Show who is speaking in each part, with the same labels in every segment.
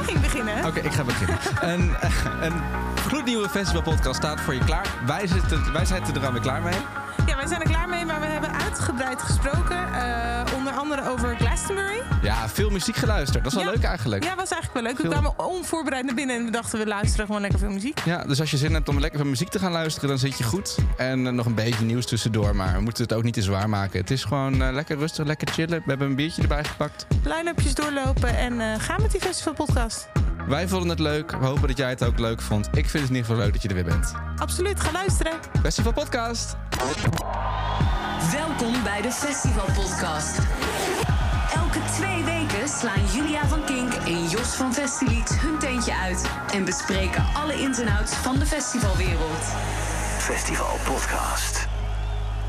Speaker 1: Oké, ik ga beginnen. Een, eh, een gloednieuwe festivalpodcast staat voor je klaar. Wij, zitten, wij zijn er dan weer klaar mee.
Speaker 2: Ja, wij zijn er klaar mee, maar we hebben uitgebreid gesproken. eh, onder andere over Glastonbury.
Speaker 1: Ja, veel muziek geluisterd. Dat is wel
Speaker 2: Ja.
Speaker 1: leuk eigenlijk.
Speaker 2: Ja, was eigenlijk wel leuk. We
Speaker 1: Veel-
Speaker 2: kwamen onvoorbereid naar binnen en we dachten we luisteren gewoon lekker veel muziek.
Speaker 1: Ja, dus als je zin hebt om lekker van muziek te gaan luisteren, dan zit je goed. En eh, nog een beetje nieuws tussendoor, maar we moeten het ook niet te zwaar maken. Het is gewoon eh, lekker rustig, lekker chillen. We hebben een biertje erbij gepakt.
Speaker 2: Line-upjes doorlopen en eh, gaan met die festivalpodcast.
Speaker 1: Wij vonden het leuk. We hopen dat jij het ook leuk vond. Ik vind het in ieder geval leuk dat je er weer bent.
Speaker 2: Absoluut, ga luisteren.
Speaker 1: Festival Podcast.
Speaker 3: Welkom bij de Festival Podcast. Elke twee weken slaan Julia van Kink en Jos van Festilieds hun tentje uit en bespreken alle ins en outs van de festivalwereld.
Speaker 4: Festival Podcast.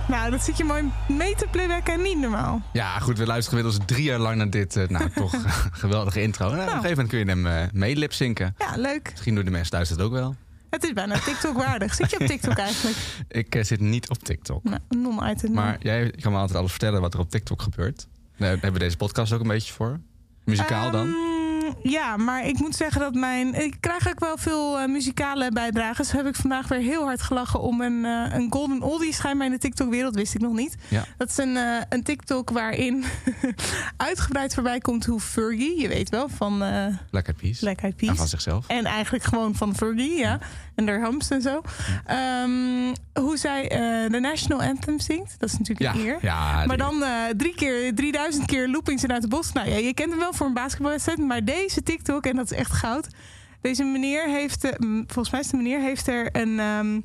Speaker 2: Nou, dat zit je mooi mee te playbacken, niet normaal.
Speaker 1: Ja, goed. We luisteren inmiddels drie jaar lang naar dit. eh, nou, toch geweldige intro. Nou, Op een gegeven moment kun je hem eh mee lipzinken.
Speaker 2: Ja, leuk.
Speaker 1: Misschien doen de mensen thuis dat ook wel.
Speaker 2: Het is bijna TikTok-waardig. Zit je op TikTok eigenlijk?
Speaker 1: Ik eh, zit niet op TikTok.
Speaker 2: Nou, non-item.
Speaker 1: Maar jij kan me altijd alles vertellen wat er op TikTok gebeurt. Daar hebben we deze podcast ook een beetje voor. Muzikaal dan.
Speaker 2: Ehm, ja, maar ik moet zeggen dat mijn... Ik krijg ook wel veel eh, muzikale bijdrages. Heb ik vandaag weer heel hard gelachen om een, eh, een golden oldie schijnbaar in de TikTok-wereld. Wist ik nog niet.
Speaker 1: Ja.
Speaker 2: Dat is een, eh, een TikTok waarin uitgebreid voorbij komt hoe Fergie, je weet wel, van eh
Speaker 1: Lekker piece.
Speaker 2: Black Eyed
Speaker 1: En van
Speaker 2: Peas.
Speaker 1: zichzelf.
Speaker 2: En eigenlijk gewoon van Fergie, ja. En haar hamst en zo. Ehm, hoe zij eh, de National Anthem zingt. Dat is natuurlijk
Speaker 1: Ja,
Speaker 2: een eer.
Speaker 1: ja,
Speaker 2: Maar
Speaker 1: die-
Speaker 2: dan eh, drie keer, 3000 keer loopings en uit de bos. Nou ja, je kent hem wel voor een basketbalwedstrijd. Maar deze TikTok, en dat is echt goud. Deze meneer heeft, eh, mm, volgens mij is de meneer, heeft er een, ehm,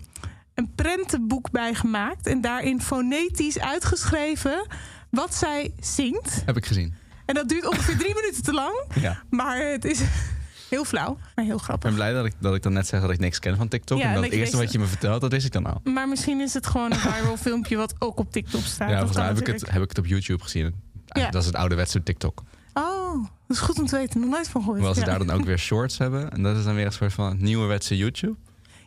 Speaker 2: een prentenboek bij gemaakt. En daarin fonetisch uitgeschreven wat zij zingt.
Speaker 1: heb ik gezien.
Speaker 2: En dat duurt ongeveer drie minuten te lang.
Speaker 1: Ja.
Speaker 2: Maar het is heel flauw, maar heel
Speaker 1: Ik ben
Speaker 2: grappig.
Speaker 1: blij dat ik, dat ik dan net zeg dat ik niks ken van TikTok.
Speaker 2: Ja,
Speaker 1: en
Speaker 2: en
Speaker 1: dat
Speaker 2: dat
Speaker 1: het
Speaker 2: je
Speaker 1: eerste
Speaker 2: deze-
Speaker 1: wat je me vertelt, dat wist ik dan al.
Speaker 2: Maar misschien is het gewoon een viral filmpje wat ook op TikTok staat.
Speaker 1: Ja,
Speaker 2: Dat
Speaker 1: volgens mij
Speaker 2: kan
Speaker 1: heb ik, het, heb ik het op YouTube gezien.
Speaker 2: Ja.
Speaker 1: Dat is het ouderwetse TikTok.
Speaker 2: natuurlijk. Oh, dat is goed om te weten. Nog nooit van gehoord.
Speaker 1: Hoewel ze
Speaker 2: ja.
Speaker 1: daar dan ook weer shorts hebben. En dat is dan weer een soort van nieuwerwetse YouTube.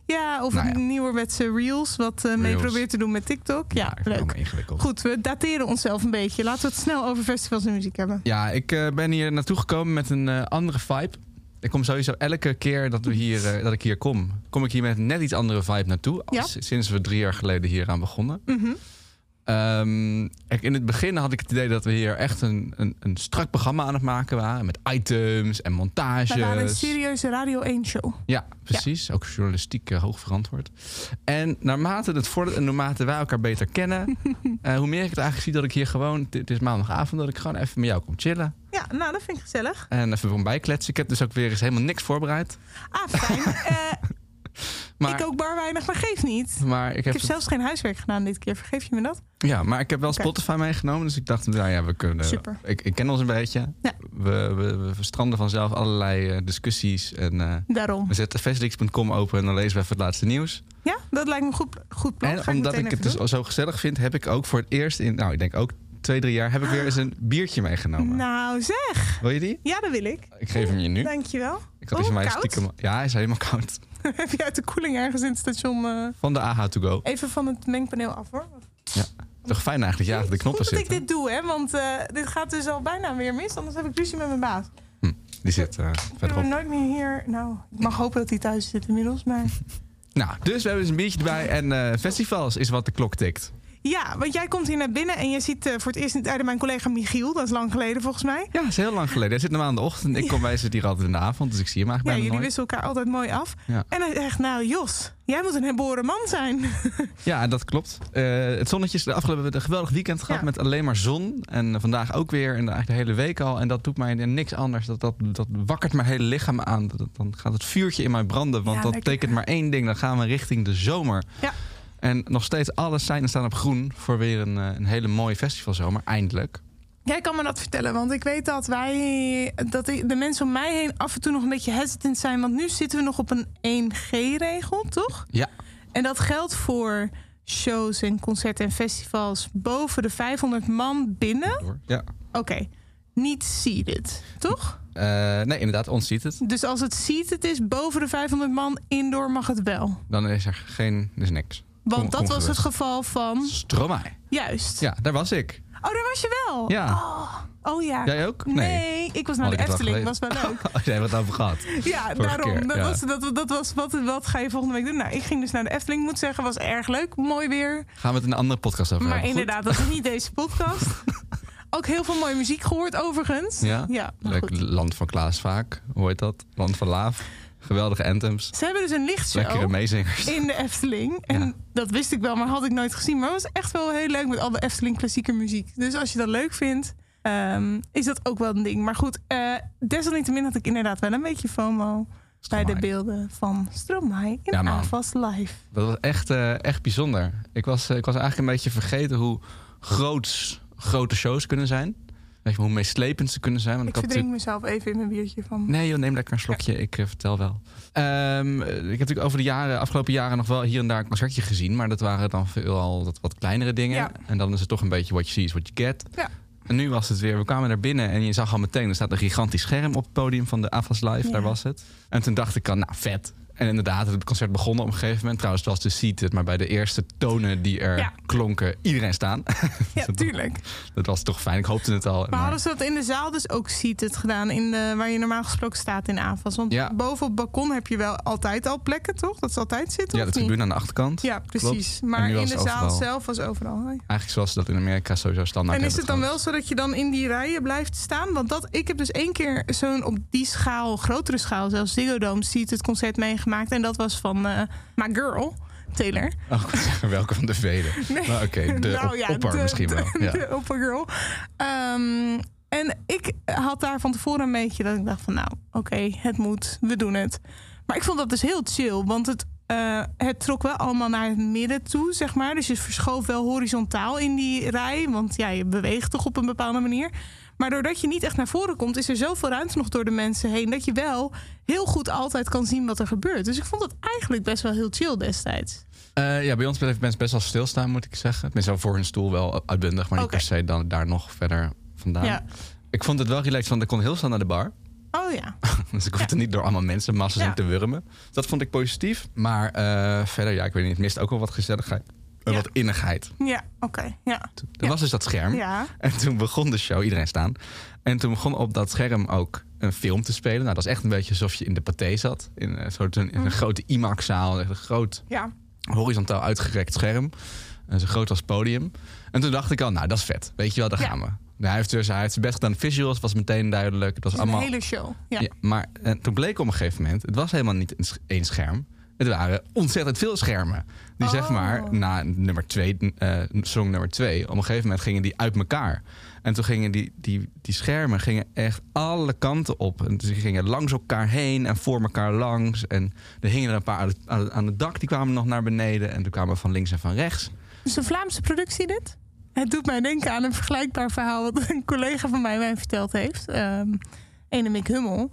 Speaker 2: Ja, of
Speaker 1: Nou ja.
Speaker 2: een nieuwerwetse Reels, wat eh, mee
Speaker 1: Reels.
Speaker 2: probeert te doen met TikTok. Ja,
Speaker 1: ik vind het allemaal
Speaker 2: leuk.
Speaker 1: ingewikkeld.
Speaker 2: Goed, we dateren onszelf een beetje. Laten we het snel over festivals en muziek hebben.
Speaker 1: Ja, ik eh, ben hier naartoe gekomen met een eh, andere vibe. Ik kom sowieso elke keer dat, we hier, eh, dat ik hier kom, kom ik hier met net iets andere vibe naartoe.
Speaker 2: Ja.
Speaker 1: Als, sinds we drie jaar geleden hier aan begonnen.
Speaker 2: Mhm.
Speaker 1: Ehm, kijk, in het begin had ik het idee dat we hier echt een, een, een strak programma aan het maken waren. Met items en montages.
Speaker 2: We waren een serieuze Radio 1 show.
Speaker 1: Ja, precies. Ook journalistiek eh, hoog verantwoord. En naarmate het vordert en naarmate wij elkaar beter kennen, eh, hoe meer ik het eigenlijk zie dat ik hier gewoon, dit is maandagavond, dat ik gewoon even met jou kom chillen.
Speaker 2: Ja, nou, dat vind ik gezellig.
Speaker 1: En even kom bijkletsen. Ik heb dus ook weer eens helemaal niks voorbereid.
Speaker 2: Ah, fijn. Eh,
Speaker 1: Maar
Speaker 2: ik ook bar weinig, maar geef niet.
Speaker 1: Maar ik
Speaker 2: Ik
Speaker 1: heb,
Speaker 2: heb zelfs geen huiswerk gedaan dit keer. Vergeef je me dat?
Speaker 1: ja, maar ik heb wel
Speaker 2: Oké.
Speaker 1: Spotify meegenomen. Dus ik dacht, nou ja, we kunnen.
Speaker 2: Super.
Speaker 1: Ik, ik ken ons een beetje.
Speaker 2: Ja.
Speaker 1: We, we, we verstranden vanzelf allerlei eh, discussies. En eh,
Speaker 2: Daarom.
Speaker 1: we zetten festix.com open en dan lezen we even het laatste nieuws.
Speaker 2: Ja, dat lijkt me een goed, goed plan. Ga
Speaker 1: en omdat ik
Speaker 2: meteen
Speaker 1: het
Speaker 2: even
Speaker 1: dus al zo gezellig vind, heb ik ook voor het eerst in, nou ik denk ook twee, drie jaar, heb ik weer eens een biertje
Speaker 2: doen.
Speaker 1: meegenomen.
Speaker 2: Nou zeg.
Speaker 1: Wil je die?
Speaker 2: Ja, dat wil ik.
Speaker 1: Ik geef hem je Eh, nu.
Speaker 2: Dankjewel.
Speaker 1: Ik had
Speaker 2: Oh,
Speaker 1: die van mij
Speaker 2: koud?
Speaker 1: stiekem. Ja, hij is helemaal koud.
Speaker 2: Heb je uit de koeling ergens in het station... eh,
Speaker 1: Van de AH to go.
Speaker 2: even van het mengpaneel af, hoor.
Speaker 1: Toch fijn eigenlijk, ja, dat de knoppen
Speaker 2: Goed dat ik
Speaker 1: zitten.
Speaker 2: dit doe, hè? Want eh, dit gaat dus al bijna weer mis. Anders heb ik ruzie met mijn baas.
Speaker 1: Die zit eh,
Speaker 2: Ik ben
Speaker 1: verderop.
Speaker 2: nooit meer hier. Nou, ik mag hopen dat hij thuis zit inmiddels. Maar
Speaker 1: Nou, dus we hebben eens een biertje erbij en eh, festivals is wat de klok tikt.
Speaker 2: ja, want jij komt hier naar binnen en je ziet eh, voor het eerst in het einde mijn collega Michiel. Dat is lang geleden volgens mij.
Speaker 1: Ja, dat is heel lang geleden. Hij zit normaal in de ochtend. Ik kom bij zit hier altijd in de avond, dus ik zie hem
Speaker 2: Ja,
Speaker 1: eigenlijk
Speaker 2: jullie
Speaker 1: bijna nooit.
Speaker 2: wisselen elkaar altijd mooi af.
Speaker 1: Ja.
Speaker 2: En hij zegt, nou Jos, jij moet een herboren man zijn.
Speaker 1: Ja, dat klopt. Eh, het zonnetje is de afgelopen we hebben een geweldig weekend gehad
Speaker 2: Ja.
Speaker 1: met alleen maar zon. En eh, vandaag ook weer en eigenlijk de hele week al. En dat doet mij niks anders. Dat, dat, dat wakkert mijn hele lichaam aan. Dat- dat- dan gaat het vuurtje in mij branden, want
Speaker 2: Ja,
Speaker 1: dat
Speaker 2: lekker.
Speaker 1: betekent maar één ding. Dan gaan we richting de zomer.
Speaker 2: Ja.
Speaker 1: En nog steeds alle seinen staan op groen voor weer een, eh, een hele mooie festivalzomer, eindelijk.
Speaker 2: Jij kan me dat vertellen, want ik weet dat wij, dat ik- de mensen om mij heen af en toe nog een beetje hesitant zijn. Want nu zitten we nog op een 1G-regel, toch?
Speaker 1: Ja.
Speaker 2: En dat geldt voor shows en concerten en festivals boven de 500 man binnen.
Speaker 1: Ja.
Speaker 2: Oké, niet seated, toch?
Speaker 1: Eh, nee, inderdaad, ons ziet het.
Speaker 2: Dus als het seated is boven de 500 man, indoor mag het wel.
Speaker 1: Dan is er geen, dus niks.
Speaker 2: Want
Speaker 1: Kom-
Speaker 2: dat
Speaker 1: kom
Speaker 2: was het
Speaker 1: gerust.
Speaker 2: geval van...
Speaker 1: Stromaai.
Speaker 2: Juist.
Speaker 1: Ja, daar was ik.
Speaker 2: Oh, daar was je wel?
Speaker 1: Ja.
Speaker 2: Oh, Oh ja.
Speaker 1: Jij ook? Oh,
Speaker 2: Nee, ik was naar
Speaker 1: Had
Speaker 2: de
Speaker 1: ik het wel
Speaker 2: Efteling. Was
Speaker 1: gelezen.
Speaker 2: wel leuk.
Speaker 1: Als jij wat over gehad.
Speaker 2: Ja,
Speaker 1: Vorige
Speaker 2: daarom.
Speaker 1: keer,
Speaker 2: dat,
Speaker 1: ja.
Speaker 2: Was, dat, dat was wat, wat ga je volgende week doen? Nou, ik ging dus naar de Efteling. Moet zeggen, was erg leuk. Mooi weer.
Speaker 1: Gaan we het in een andere podcast over
Speaker 2: Maar
Speaker 1: hebben, goed?
Speaker 2: inderdaad, dat is niet deze podcast. Ook heel veel mooie muziek gehoord, overigens.
Speaker 1: Ja?
Speaker 2: maar
Speaker 1: Leuk,
Speaker 2: Nou, goed.
Speaker 1: Land van Klaas vaak. Hoe heet dat? Land van Laaf. Geweldige anthems.
Speaker 2: Ze hebben dus een lichtshow
Speaker 1: Lekkere meezingers.
Speaker 2: in de Efteling. En
Speaker 1: Ja.
Speaker 2: dat wist ik wel, maar had ik nooit gezien. Maar het was echt wel heel leuk met al de Efteling klassieke muziek. Dus als je dat leuk vindt, ehm, is dat ook wel een ding. Maar goed, eh, desalniettemin had ik inderdaad wel een beetje FOMO... bij de
Speaker 1: Stromae.
Speaker 2: beelden van Stromae in
Speaker 1: Ja, man.
Speaker 2: Avas Live.
Speaker 1: Dat was echt, eh, echt bijzonder. Ik was, eh, ik was eigenlijk een beetje vergeten hoe groots grote shows kunnen zijn. Weet je, hoe meeslepend ze kunnen zijn. Want
Speaker 2: Ik
Speaker 1: ik had natuurlijk
Speaker 2: verdrink mezelf even in mijn biertje van.
Speaker 1: Nee joh, neem lekker een slokje. Ik eh, vertel wel. Ehm, eh, ik heb natuurlijk over de jaren, afgelopen jaren nog wel hier en daar een concertje gezien. Maar dat waren dan veelal dat wat kleinere dingen.
Speaker 2: Ja.
Speaker 1: En dan is het toch een beetje what you see is what you get.
Speaker 2: Ja.
Speaker 1: En nu was het weer, we kwamen naar binnen en je zag al meteen... er staat een gigantisch scherm op het podium van de Avas Live.
Speaker 2: Ja.
Speaker 1: Daar was het. En toen dacht ik al, nou vet. En inderdaad, het concert begon op een gegeven moment. Trouwens, het was de seat, het, maar bij de eerste tonen die er
Speaker 2: Ja.
Speaker 1: klonken... iedereen staan.
Speaker 2: Ja, tuurlijk.
Speaker 1: dat was toch fijn, ik hoopte het al.
Speaker 2: Maar
Speaker 1: maar-
Speaker 2: hadden ze dat in de zaal dus ook seated gedaan, in de, waar je normaal gesproken staat in Avas? Want
Speaker 1: Ja.
Speaker 2: boven op het balkon heb je wel altijd al plekken, toch? Dat ze altijd zitten,
Speaker 1: Ja, de
Speaker 2: of niet?
Speaker 1: tribune aan de achterkant.
Speaker 2: Ja, precies. Maar
Speaker 1: En nu
Speaker 2: in
Speaker 1: was
Speaker 2: de
Speaker 1: het
Speaker 2: zaal
Speaker 1: overal.
Speaker 2: zelf was overal. hè?
Speaker 1: Eigenlijk zoals ze dat in Amerika sowieso standaard
Speaker 2: en is het
Speaker 1: hebben
Speaker 2: dan
Speaker 1: trouwens.
Speaker 2: wel zo dat je dan in die rijen blijft staan? Want dat, ik heb dus één keer zo'n op die schaal, grotere schaal, zelfs Ziggo Dome, seated concert meegemaakt. En dat was van eh, My Girl, Taylor.
Speaker 1: Oh, ik wou zeggen, welke van de vele?
Speaker 2: Nee.
Speaker 1: Nou, Oké, de op- opper
Speaker 2: de-
Speaker 1: misschien wel.
Speaker 2: De,
Speaker 1: Ja.
Speaker 2: de oppergirl. Ehm, en ik had daar van tevoren een beetje dat ik dacht van nou, oké, het moet, we doen het. Maar ik vond dat dus heel chill, want het, eh, het trok wel allemaal naar het midden toe, zeg maar. Dus je verschoof wel horizontaal in die rij, want ja, je beweegt toch op een bepaalde manier. Maar doordat je niet echt naar voren komt, is er zoveel ruimte nog door de mensen heen... dat je wel heel goed altijd kan zien wat er gebeurt. Dus ik vond dat eigenlijk best wel heel chill destijds.
Speaker 1: Eh, ja, bij ons bleven mensen best wel stilstaan, moet ik zeggen. Tenminste, wel voor hun stoel wel uitbundig, maar niet
Speaker 2: Oké.
Speaker 1: per se dan, daar nog verder vandaan.
Speaker 2: Ja.
Speaker 1: Ik vond het wel relaxed, want ik kon heel snel naar de bar.
Speaker 2: Oh ja,
Speaker 1: Dus ik hoefde niet door allemaal mensen massa's
Speaker 2: Ja.
Speaker 1: heen te wurmen. Dat vond ik positief. Maar eh, verder, ja, ik weet niet, het mist ook wel wat gezelligheid. en
Speaker 2: Ja.
Speaker 1: Wat innigheid.
Speaker 2: ja, oké, ja.
Speaker 1: Er
Speaker 2: Ja.
Speaker 1: was dus dat scherm.
Speaker 2: Ja.
Speaker 1: En toen begon de show, iedereen staan. En toen begon op dat scherm ook een film te spelen. Nou, dat is echt een beetje alsof je in de paté zat. In eh, een, soort, in
Speaker 2: Oh.
Speaker 1: een grote IMAX-zaal, echt een groot
Speaker 2: Ja.
Speaker 1: horizontaal uitgerekt scherm. En zo groot als podium. En toen dacht ik al, nou, dat is vet. Weet je wel, daar
Speaker 2: Ja.
Speaker 1: gaan we. Nou, hij, heeft dus, hij heeft zijn best gedaan. Visuals was meteen duidelijk. Het was allemaal...
Speaker 2: Een hele show. Ja.
Speaker 1: Ja, maar eh, toen bleek op een gegeven moment... het was helemaal niet een sch- één scherm. Het waren ontzettend veel schermen. Die zeg
Speaker 2: Oh.
Speaker 1: maar, na nummer twee, eh, song nummer twee... op een gegeven moment gingen die uit elkaar. En toen gingen die, die, die schermen gingen echt alle kanten op. En ze gingen langs elkaar heen en voor elkaar langs. En er hingen er een paar aan het, aan het- aan het dak. Die kwamen nog naar beneden. En toen kwamen van links en van rechts.
Speaker 2: Dus een Vlaamse productie dit? Het doet mij denken aan een vergelijkbaar verhaal... wat een collega van mij mij verteld heeft. ehm ene Mick Hummel.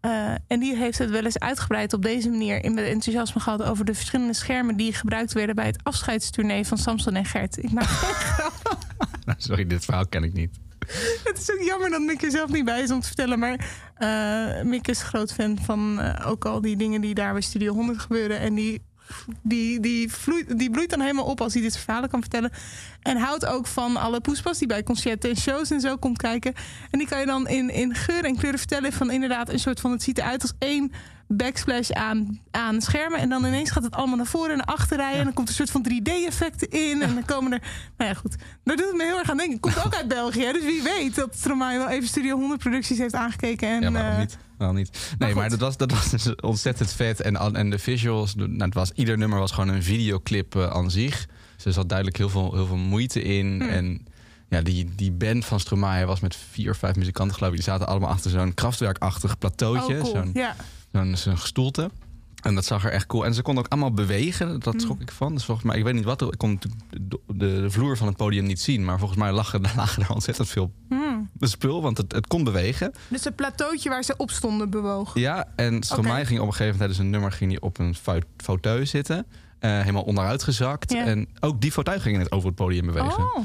Speaker 2: Eh, en die heeft het wel eens uitgebreid op deze manier... in met enthousiasme gehad over de verschillende schermen... die gebruikt werden bij het afscheidstournee van Samson en Gert. Ik maak geen grap.
Speaker 1: Nou, Sorry, dit verhaal ken ik niet.
Speaker 2: Het is ook jammer dat Mick er zelf niet bij is om te vertellen... maar eh, Mick is groot fan van eh, ook al die dingen die daar bij Studio 100 gebeuren... en die die, die, vloeit, die bloeit dan helemaal op als hij dit soort verhalen kan vertellen. En houdt ook van alle poespas die bij concerten en shows en zo komt kijken. En die kan je dan in, in geur en kleuren vertellen van inderdaad een soort van... het ziet eruit als één backsplash aan, aan schermen. En dan ineens gaat het allemaal naar voren en naar achter rijden. En dan komt een soort van 3D-effect in. En dan komen er... Nou ja, goed. Daar doet het me heel erg aan denken. Het Komt ook uit België, hè? dus wie weet dat Stromae wel even Studio 100 producties heeft aangekeken. En,
Speaker 1: ja, waarom
Speaker 2: eh,
Speaker 1: niet? Waarom niet? Nee,
Speaker 2: goed.
Speaker 1: maar, dat, was, dat was dus ontzettend vet. En, al- en de visuals, de- nou, het was, ieder nummer was gewoon een videoclip eh, aan zich. Dus er zat duidelijk heel veel, heel veel moeite in.
Speaker 2: Hmm.
Speaker 1: En ja, die, die band van Stromae was met vier of vijf muzikanten, geloof ik. Die zaten allemaal achter zo'n kraftwerkachtig
Speaker 2: oh,
Speaker 1: plateautje.
Speaker 2: cool.
Speaker 1: Zo'n
Speaker 2: Ja.
Speaker 1: zo'n zo'n gestoelte. En dat zag er echt cool. En ze konden ook allemaal bewegen.
Speaker 2: Hmm.
Speaker 1: Dat schrok ik van. Dus volgens mij, ik weet niet wat. er- Ik kon natuurlijk de, de, de vloer van het podium niet zien. Maar volgens mij lagen, lagen er ontzettend veel
Speaker 2: Hmm.
Speaker 1: spul. Want het, het kon bewegen.
Speaker 2: Dus het plateautje waar ze op stonden bewoog.
Speaker 1: Ja, en Stromae
Speaker 2: Oké.
Speaker 1: ging op een gegeven moment tijdens een nummer ging hij op een fau- fauteuil zitten. eh, helemaal onderuit gezakt.
Speaker 2: Ja.
Speaker 1: En ook die fauteuil ging net over het podium bewegen.
Speaker 2: Oh.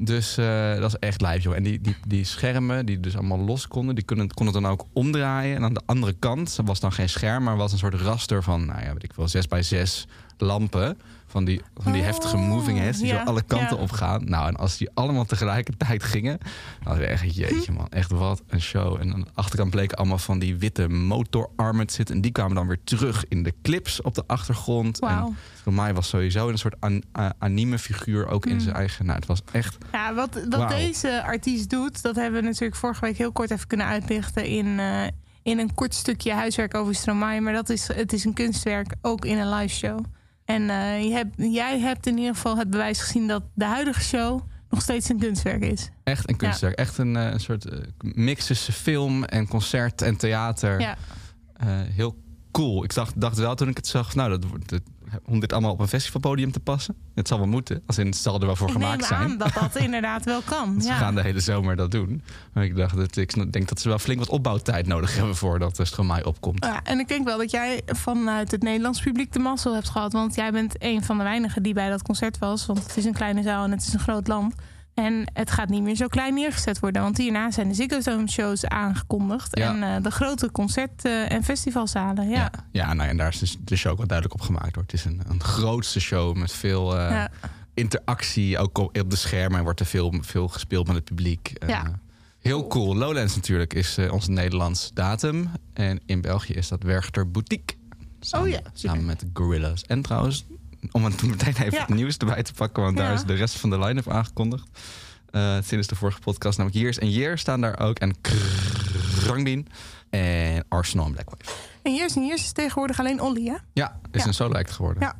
Speaker 1: Dus eh, dat is echt live, joh. En die, die, die schermen, die dus allemaal los konden, die konden, konden het dan ook omdraaien. En aan de andere kant was dan geen scherm, maar was een soort raster van, nou ja, weet ik wel, 6 bij 6 lampen. Van die, van die
Speaker 2: Oh,
Speaker 1: heftige moving heads die
Speaker 2: ja,
Speaker 1: zo alle kanten
Speaker 2: ja.
Speaker 1: op gaan. Nou, en als die allemaal tegelijkertijd gingen. Dan was echt, jeetje man, echt wat een show. En aan de achterkant bleken allemaal van die witte motorarmen te zitten. En die kwamen dan weer terug in de clips op de achtergrond. En
Speaker 2: Wauw.
Speaker 1: voor mij was sowieso een soort an- a- anime figuur ook in
Speaker 2: Mm.
Speaker 1: zijn eigen. Nou, het was echt.
Speaker 2: Ja, wat, wat
Speaker 1: Wauw.
Speaker 2: deze artiest doet, dat hebben we natuurlijk vorige week heel kort even kunnen uitlichten in, eh, in een kort stukje huiswerk over Stromae. Maar dat is, het is een kunstwerk, ook in een live show. En eh, je hebt, jij hebt in ieder geval het bewijs gezien dat de huidige show nog steeds een kunstwerk is.
Speaker 1: Echt een kunstwerk. Echt een, eh, een soort eh, mix tussen film en concert en theater.
Speaker 2: Ja.
Speaker 1: Eh, heel cool. Ik dacht, dacht wel toen ik het zag, nou, dat, wordt- dat- om dit allemaal op een festivalpodium te passen. Het zal wel moeten. Als in, het zal er wel voor
Speaker 2: Ik neem
Speaker 1: gemaakt zijn.
Speaker 2: aan dat dat inderdaad wel kan.
Speaker 1: Want Ze
Speaker 2: ja.
Speaker 1: gaan de hele zomer dat doen. Maar ik dacht, dat, ik denk dat ze wel flink wat opbouwtijd nodig hebben voordat uh, Stromae opkomt.
Speaker 2: Ja, en ik denk wel dat jij vanuit het Nederlands publiek de mazzel hebt gehad. Want jij bent een van de weinigen die bij dat concert was. Want het is een kleine zaal en het is een groot land. En het gaat niet meer zo klein neergezet worden. Want hierna zijn de Ziggo Dome shows aangekondigd.
Speaker 1: Ja.
Speaker 2: En eh, de grote concert- eh, en festivalzalen. Ja.
Speaker 1: ja. Ja, nou, en daar is dus de show ook wel duidelijk op gemaakt. Hoor. Het is een, een grootste show met veel eh,
Speaker 2: Ja.
Speaker 1: interactie. Ook op, op de schermen wordt er veel, veel gespeeld met het publiek. Eh,
Speaker 2: Ja.
Speaker 1: Heel cool. Lowlands natuurlijk is eh, onze Nederlands datum. En in België is dat Werchter Boutique. Samen,
Speaker 2: Oh ja, super.
Speaker 1: Samen met de Gorillas. En trouwens, om het meteen even
Speaker 2: Ja.
Speaker 1: het nieuws erbij te pakken... want daar
Speaker 2: Ja.
Speaker 1: is de rest van de line-up aangekondigd. Eh, sinds de vorige podcast namelijk Years en Year staan daar ook. En Krangdien en Arsenal en Blackwave.
Speaker 2: En Years en Years is tegenwoordig alleen Olly, hè?
Speaker 1: Ja, is
Speaker 2: Ja.
Speaker 1: een solo act geworden.
Speaker 2: Ja.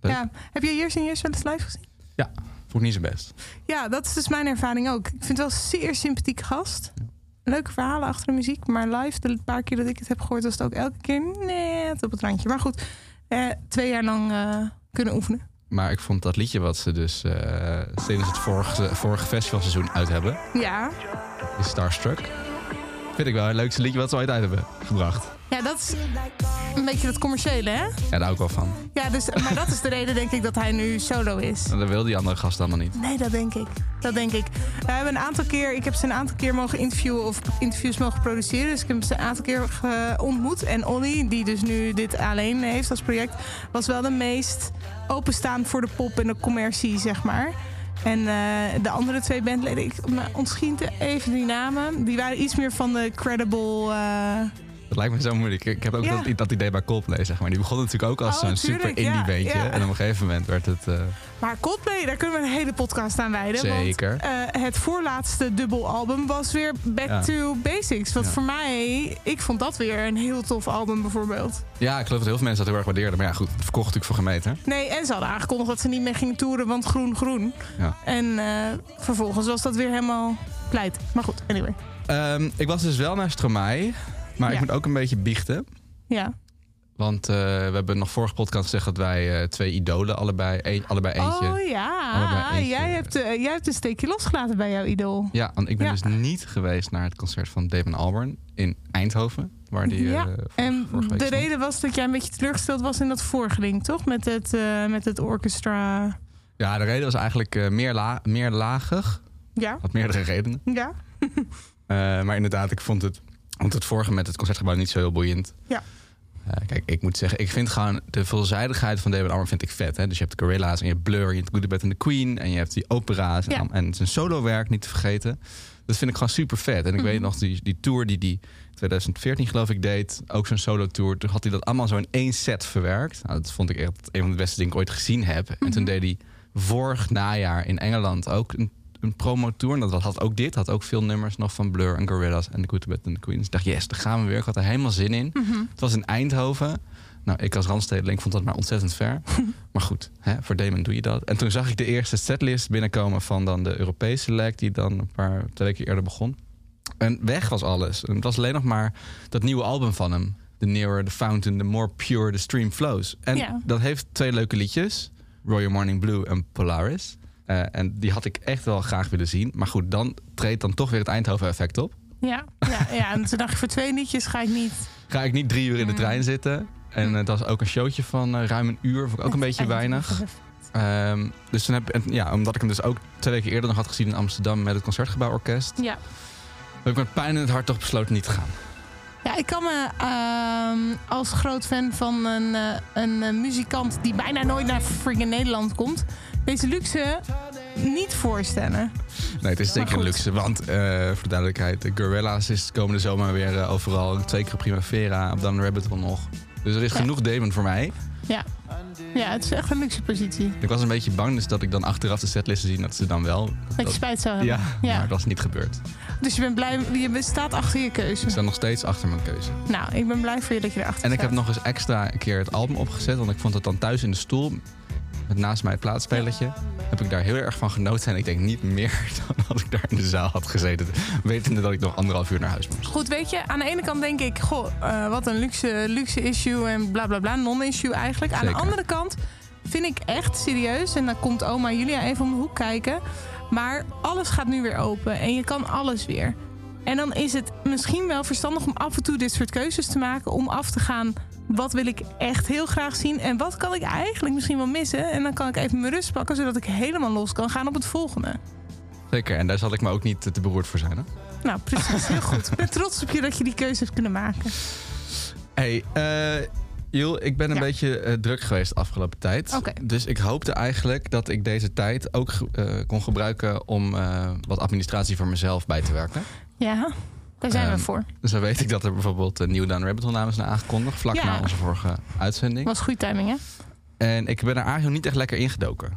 Speaker 1: Leuk.
Speaker 2: ja. Heb je Years en Years wel eens live gezien?
Speaker 1: Ja, vond ik niet zo best.
Speaker 2: Ja, dat is dus mijn ervaring ook. Ik vind het wel een zeer sympathieke gast. Leuke verhalen achter de muziek, maar live, de paar keer dat ik het heb gehoord, was het ook elke keer net op het randje. Maar goed, eh, twee jaar lang eh, kunnen oefenen.
Speaker 1: Maar ik vond dat liedje wat ze dus eh, sinds het vorige, vorige festivalseizoen uit hebben,
Speaker 2: Ja.
Speaker 1: is Starstruck. Vind ik wel het leukste liedje wat ze ooit uit hebben gebracht.
Speaker 2: ja, dat is een beetje dat commerciële, hè?
Speaker 1: Ja, daar hou ik wel van.
Speaker 2: Ja, dus, maar dat is de reden, denk ik, dat hij nu solo is.
Speaker 1: En dat wil die andere gast allemaal niet.
Speaker 2: Nee, dat denk ik. Dat denk ik. We hebben een aantal keer, ik heb ze een aantal keer mogen interviewen of interviews mogen produceren. Dus ik heb ze een aantal keer eh, ontmoet. En Olly, die dus nu dit alleen heeft als project, was wel de meest openstaan voor de pop en de commercie, zeg maar. En eh, de andere twee bandleden, ik me ontschiet even die namen. Die waren iets meer van de credible. eh,
Speaker 1: Dat lijkt me zo moeilijk. Ik heb ook
Speaker 2: Ja.
Speaker 1: dat, dat idee bij Coldplay, zeg maar. Die begon natuurlijk ook als
Speaker 2: Oh,
Speaker 1: zo'n
Speaker 2: tuurlijk,
Speaker 1: super indie
Speaker 2: ja,
Speaker 1: beentje.
Speaker 2: ja.
Speaker 1: En op een gegeven moment werd het... eh,
Speaker 2: Maar Coldplay, daar kunnen we een hele podcast aan wijden.
Speaker 1: Zeker.
Speaker 2: Want eh, het voorlaatste dubbelalbum was weer Back
Speaker 1: Ja.
Speaker 2: to Basics. Wat
Speaker 1: Ja.
Speaker 2: voor mij, ik vond dat weer een heel tof album bijvoorbeeld.
Speaker 1: ja, ik geloof dat heel veel mensen dat heel erg waardeerden. Maar ja, goed, het verkocht natuurlijk voor gemeten.
Speaker 2: Nee, en ze hadden aangekondigd dat ze niet meer gingen toeren, want groen, groen.
Speaker 1: Ja.
Speaker 2: En eh, vervolgens was dat weer helemaal pleit. Maar goed, anyway.
Speaker 1: Ehm, ik was dus wel naar Stromae. Maar ik
Speaker 2: Ja.
Speaker 1: moet ook een beetje biechten.
Speaker 2: Ja.
Speaker 1: Want eh, we hebben nog vorige podcast gezegd dat wij eh, twee idolen, allebei, een- allebei eentje.
Speaker 2: Oh ja,
Speaker 1: Allebei eentje.
Speaker 2: jij hebt, eh, jij hebt een steekje losgelaten bij jouw idool.
Speaker 1: Ja, want ik ben
Speaker 2: Ja.
Speaker 1: dus niet geweest naar het concert van Damon Albarn in Eindhoven. Waar die, eh,
Speaker 2: Ja,
Speaker 1: vor-
Speaker 2: En
Speaker 1: vorige week
Speaker 2: de
Speaker 1: stond.
Speaker 2: reden was dat jij een beetje teleurgesteld was in dat vorige ding, toch? Met het, eh, met het orchestra.
Speaker 1: Ja, de reden was eigenlijk eh, meer, la meer lagig.
Speaker 2: Ja,
Speaker 1: Had meerdere redenen.
Speaker 2: ja.
Speaker 1: Eh, maar inderdaad, ik vond het, vond het vorige met het concertgebouw niet zo heel boeiend.
Speaker 2: Ja.
Speaker 1: Eh, kijk, ik moet zeggen, ik vind gewoon de veelzijdigheid van David Armer vind ik vet. Hè? Dus je hebt Gorilla's en je hebt Blur, en je hebt Good, The Bad and The Queen en je hebt die opera's. En,
Speaker 2: Ja.
Speaker 1: al- en het is een solowerk, niet te vergeten. Dat vind ik gewoon super vet. En ik weet nog, die, die tour die die 2014 geloof ik deed, ook zo'n solo-tour. Toen had hij dat allemaal zo in één set verwerkt. Nou, dat vond ik echt een van de beste dingen die ik ooit gezien heb. En toen deed hij vorig najaar in Engeland ook een, een promotour. En dat had ook dit, had ook veel nummers nog van Blur en Gorillaz en The Good, The Bad and The Queen. Dus ik dacht, yes, daar gaan we weer. Ik had er helemaal zin in. Het was in Eindhoven. Nou, ik als Randstedeling vond dat maar ontzettend ver. maar goed, hè, voor Damon doe je dat. En toen zag ik de eerste setlist binnenkomen van dan de Europese select... die dan een paar twee weken eerder begon. En weg was alles. En het was alleen nog maar dat nieuwe album van hem. The Nearer, The Fountain, The More Pure, The Stream Flows. En
Speaker 2: Ja.
Speaker 1: dat heeft twee leuke liedjes. Royal Morning Blue en Polaris. Eh, en die had ik echt wel graag willen zien. Maar goed, dan treedt dan toch weer het Eindhoven-effect op.
Speaker 2: Ja, ja, ja, en toen dacht ik, voor twee liedjes ga ik niet.
Speaker 1: Ga ik niet drie uur in de trein zitten. En het was ook een showtje van eh, ruim een uur. Vond ik ook een beetje weinig. Ehm, dus toen heb, en, ja, omdat ik hem dus ook twee weken eerder nog had gezien in Mm. Amsterdam... met het Concertgebouworkest...
Speaker 2: Ja.
Speaker 1: heb ik met pijn in het hart toch besloten niet te gaan.
Speaker 2: ja, ik kan me ehm, als groot fan van een, eh, een eh, muzikant die bijna nooit naar friggin Nederland komt, deze luxe niet voorstellen.
Speaker 1: Nee, het is zeker een
Speaker 2: goed.
Speaker 1: luxe. Want eh, voor de duidelijkheid, de Gorilla's is komende zomer weer eh, overal. Twee keer Primavera, op Dan Rabbit Hole nog. Dus er is
Speaker 2: Ja.
Speaker 1: genoeg Damon voor mij.
Speaker 2: Ja. ja, het is echt een luxe positie.
Speaker 1: Ik was een beetje bang dus dat ik dan achteraf de setlisten zie dat ze dan wel...
Speaker 2: Dat je
Speaker 1: dat-
Speaker 2: spijt zou hebben.
Speaker 1: ja, maar dat is niet gebeurd.
Speaker 2: Dus je bent blij, je staat achter je keuze.
Speaker 1: Ik sta nog steeds achter mijn keuze.
Speaker 2: Nou, ik ben blij voor je dat je erachter
Speaker 1: En ik
Speaker 2: staat.
Speaker 1: heb nog eens extra een keer het album opgezet. Want ik vond het dan thuis in de stoel. Met naast mij het plaatspelletje. Heb ik daar heel erg van genoten. En ik denk niet meer dan als ik daar in de zaal had gezeten. Wetende dat ik nog anderhalf uur naar huis moest.
Speaker 2: Goed, weet je, aan de ene kant denk ik, goh, eh, wat een luxe, luxe issue en bla bla bla, non-issue eigenlijk. Aan de
Speaker 1: Zeker.
Speaker 2: andere kant vind ik echt serieus, en dan komt oma Julia even om de hoek kijken, maar alles gaat nu weer open en je kan alles weer. En dan is het misschien wel verstandig om af en toe dit soort keuzes te maken, om af te gaan, wat wil ik echt heel graag zien en wat kan ik eigenlijk misschien wel missen. En dan kan ik even mijn rust pakken, zodat ik helemaal los kan gaan op het volgende.
Speaker 1: Zeker. En daar zal ik me ook niet eh, te beroerd voor zijn. Hè?
Speaker 2: Nou, precies, heel goed. Ik ben trots op je dat je die keuze hebt kunnen maken.
Speaker 1: Hey, eh Jul, ik ben een
Speaker 2: Ja.
Speaker 1: beetje eh, druk geweest de afgelopen tijd.
Speaker 2: Oké.
Speaker 1: Dus ik hoopte eigenlijk dat ik deze tijd ook ge- eh, kon gebruiken om eh, wat administratie voor mezelf bij te werken.
Speaker 2: Ja, daar zijn
Speaker 1: Ehm,
Speaker 2: we voor.
Speaker 1: Dus dan weet ik dat er bijvoorbeeld een nieuwe Down Rabbit Hole namens naar aangekondigd. Vlak
Speaker 2: Ja.
Speaker 1: na onze vorige uitzending.
Speaker 2: Was goede timing, hè?
Speaker 1: En ik ben er eigenlijk nog niet echt lekker ingedoken.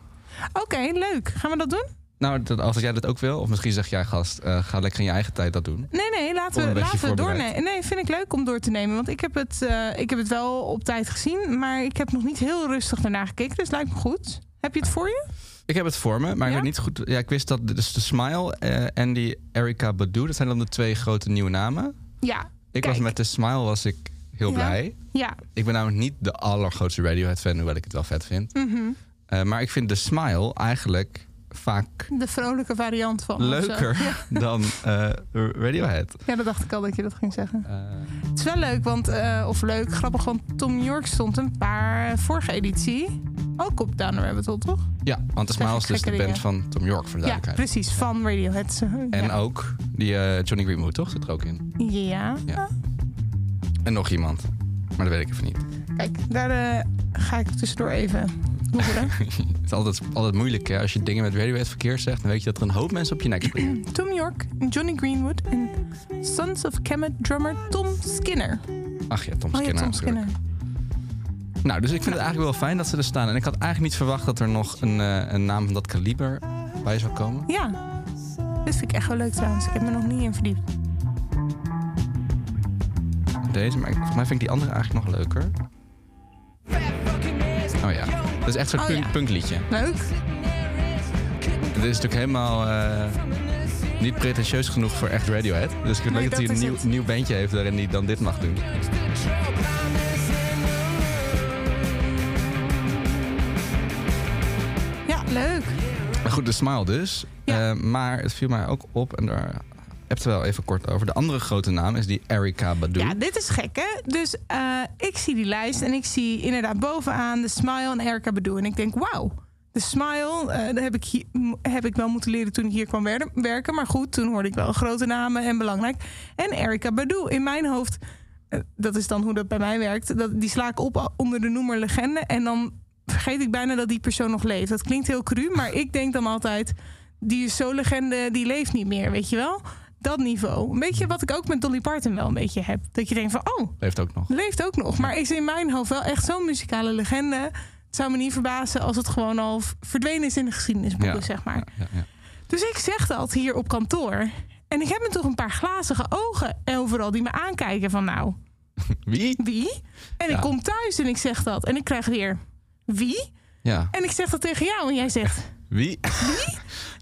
Speaker 2: Oké, leuk. Gaan we dat doen?
Speaker 1: Nou, dat, als jij dat ook wil. Of misschien zeg jij gast, eh, ga lekker in je eigen tijd dat doen.
Speaker 2: Nee, nee, laten
Speaker 1: Om een
Speaker 2: we,
Speaker 1: beetje
Speaker 2: laten we
Speaker 1: voorbereid.
Speaker 2: doornemen. Nee, vind ik leuk om door te nemen. Want ik heb, het, eh, ik heb het wel op tijd gezien, maar ik heb nog niet heel rustig daarna gekeken. Dus lijkt me goed. Heb je het voor je?
Speaker 1: Ik heb het voor me, maar ik
Speaker 2: Ja?
Speaker 1: weet niet goed. Ja, ik wist dat dus de Smile eh, en die Erika Badu, dat zijn dan de twee grote nieuwe namen.
Speaker 2: Ja.
Speaker 1: Ik
Speaker 2: Kijk.
Speaker 1: was met de Smile was ik heel
Speaker 2: Ja.
Speaker 1: blij.
Speaker 2: Ja.
Speaker 1: Ik ben namelijk niet de allergrootste Radiohead fan, hoewel ik het wel vet vind.
Speaker 2: Mhm.
Speaker 1: Eh, maar ik vind de Smile eigenlijk vaak
Speaker 2: De vrolijke variant van. of Oh, zo.
Speaker 1: leuker dan eh, Radiohead.
Speaker 2: Ja, dat dacht ik al dat je dat ging zeggen.
Speaker 1: Eh,
Speaker 2: Het is wel leuk, want, eh, of leuk, grappig, want Tom York stond een paar eh, vorige editie ook op Down the Rabbit Hole, toch?
Speaker 1: Ja, want de
Speaker 2: Zeg
Speaker 1: Smiles
Speaker 2: ik
Speaker 1: is dus de
Speaker 2: gekke
Speaker 1: band
Speaker 2: dingen.
Speaker 1: van Tom York, voor de
Speaker 2: Ja,
Speaker 1: duidelijkheid.
Speaker 2: precies. Van Radiohead.
Speaker 1: en
Speaker 2: ja.
Speaker 1: ook die eh, Johnny Greenwood, toch? Zit er ook in.
Speaker 2: Ja.
Speaker 1: Ja. En nog iemand. Maar dat weet ik even niet.
Speaker 2: Kijk, daar eh, ga ik tussendoor even googelen.
Speaker 1: Het is altijd, altijd moeilijk, hè? Als je dingen met Radiohead verkeerd zegt, dan weet je dat er een hoop mensen op je nek springen.
Speaker 2: Tom York, Johnny Greenwood en Sons of Kemet drummer Tom Skinner.
Speaker 1: Ach ja, Tom
Speaker 2: Oh ja,
Speaker 1: Skinner.
Speaker 2: Tom
Speaker 1: natuurlijk.
Speaker 2: Skinner.
Speaker 1: Nou, dus ik vind het eigenlijk wel fijn dat ze er staan. En ik had eigenlijk niet verwacht dat er nog een, eh, een naam van dat kaliber bij zou komen.
Speaker 2: Ja, dit vind ik echt wel leuk trouwens. Ik heb me nog niet in verdiept.
Speaker 1: Deze, maar ik- volgens mij vind ik die andere eigenlijk nog leuker. Oh ja, dat is echt zo'n
Speaker 2: Oh
Speaker 1: punk,
Speaker 2: ja.
Speaker 1: punkliedje.
Speaker 2: Leuk?
Speaker 1: Dit is natuurlijk helemaal eh, niet pretentieus genoeg voor echt Radiohead. Dus ik vind
Speaker 2: Nee,
Speaker 1: leuk dat, hij
Speaker 2: dat
Speaker 1: een
Speaker 2: is
Speaker 1: nieuw,
Speaker 2: het.
Speaker 1: nieuw bandje heeft waarin hij dan dit mag doen.
Speaker 2: Ja, leuk.
Speaker 1: Maar goed, de smile dus.
Speaker 2: Ja.
Speaker 1: Eh, maar het viel mij ook op, en daar heb je het wel even kort over. De andere grote naam is die Erika Badu.
Speaker 2: Ja, dit is gek, hè? Dus eh, ik zie die lijst en ik zie inderdaad bovenaan de Smile en Erika Badu. En ik denk, wauw. De Smile, eh, dat heb ik, hier, m- heb ik wel moeten leren toen ik hier kwam wer- werken. Maar goed, toen hoorde ik wel grote namen en belangrijk. En Erika Badu, in mijn hoofd, eh, dat is dan hoe dat bij mij werkt. Dat, die sla ik op onder de noemer legende. En dan vergeet ik bijna dat die persoon nog leeft. Dat klinkt heel cru, maar ik denk dan altijd... die is zo legende, die leeft niet meer, weet je wel? Dat niveau. Een beetje wat ik ook met Dolly Parton wel een beetje heb. Dat je denkt van, oh,
Speaker 1: Leeft ook nog.
Speaker 2: leeft ook nog. Maar is in mijn hoofd wel echt zo'n muzikale legende. Het zou me niet verbazen als het gewoon al v- verdwenen is in de geschiedenisboeken, zeg maar.
Speaker 1: Ja, ja.
Speaker 2: Dus ik zeg dat hier op kantoor. En ik heb me toch een paar glazige ogen overal die me aankijken van nou,
Speaker 1: Wie?
Speaker 2: wie? En
Speaker 1: Ja.
Speaker 2: ik kom thuis en ik zeg dat. En ik krijg weer, wie?
Speaker 1: Ja,
Speaker 2: En ik zeg dat tegen jou en jij zegt,
Speaker 1: wie?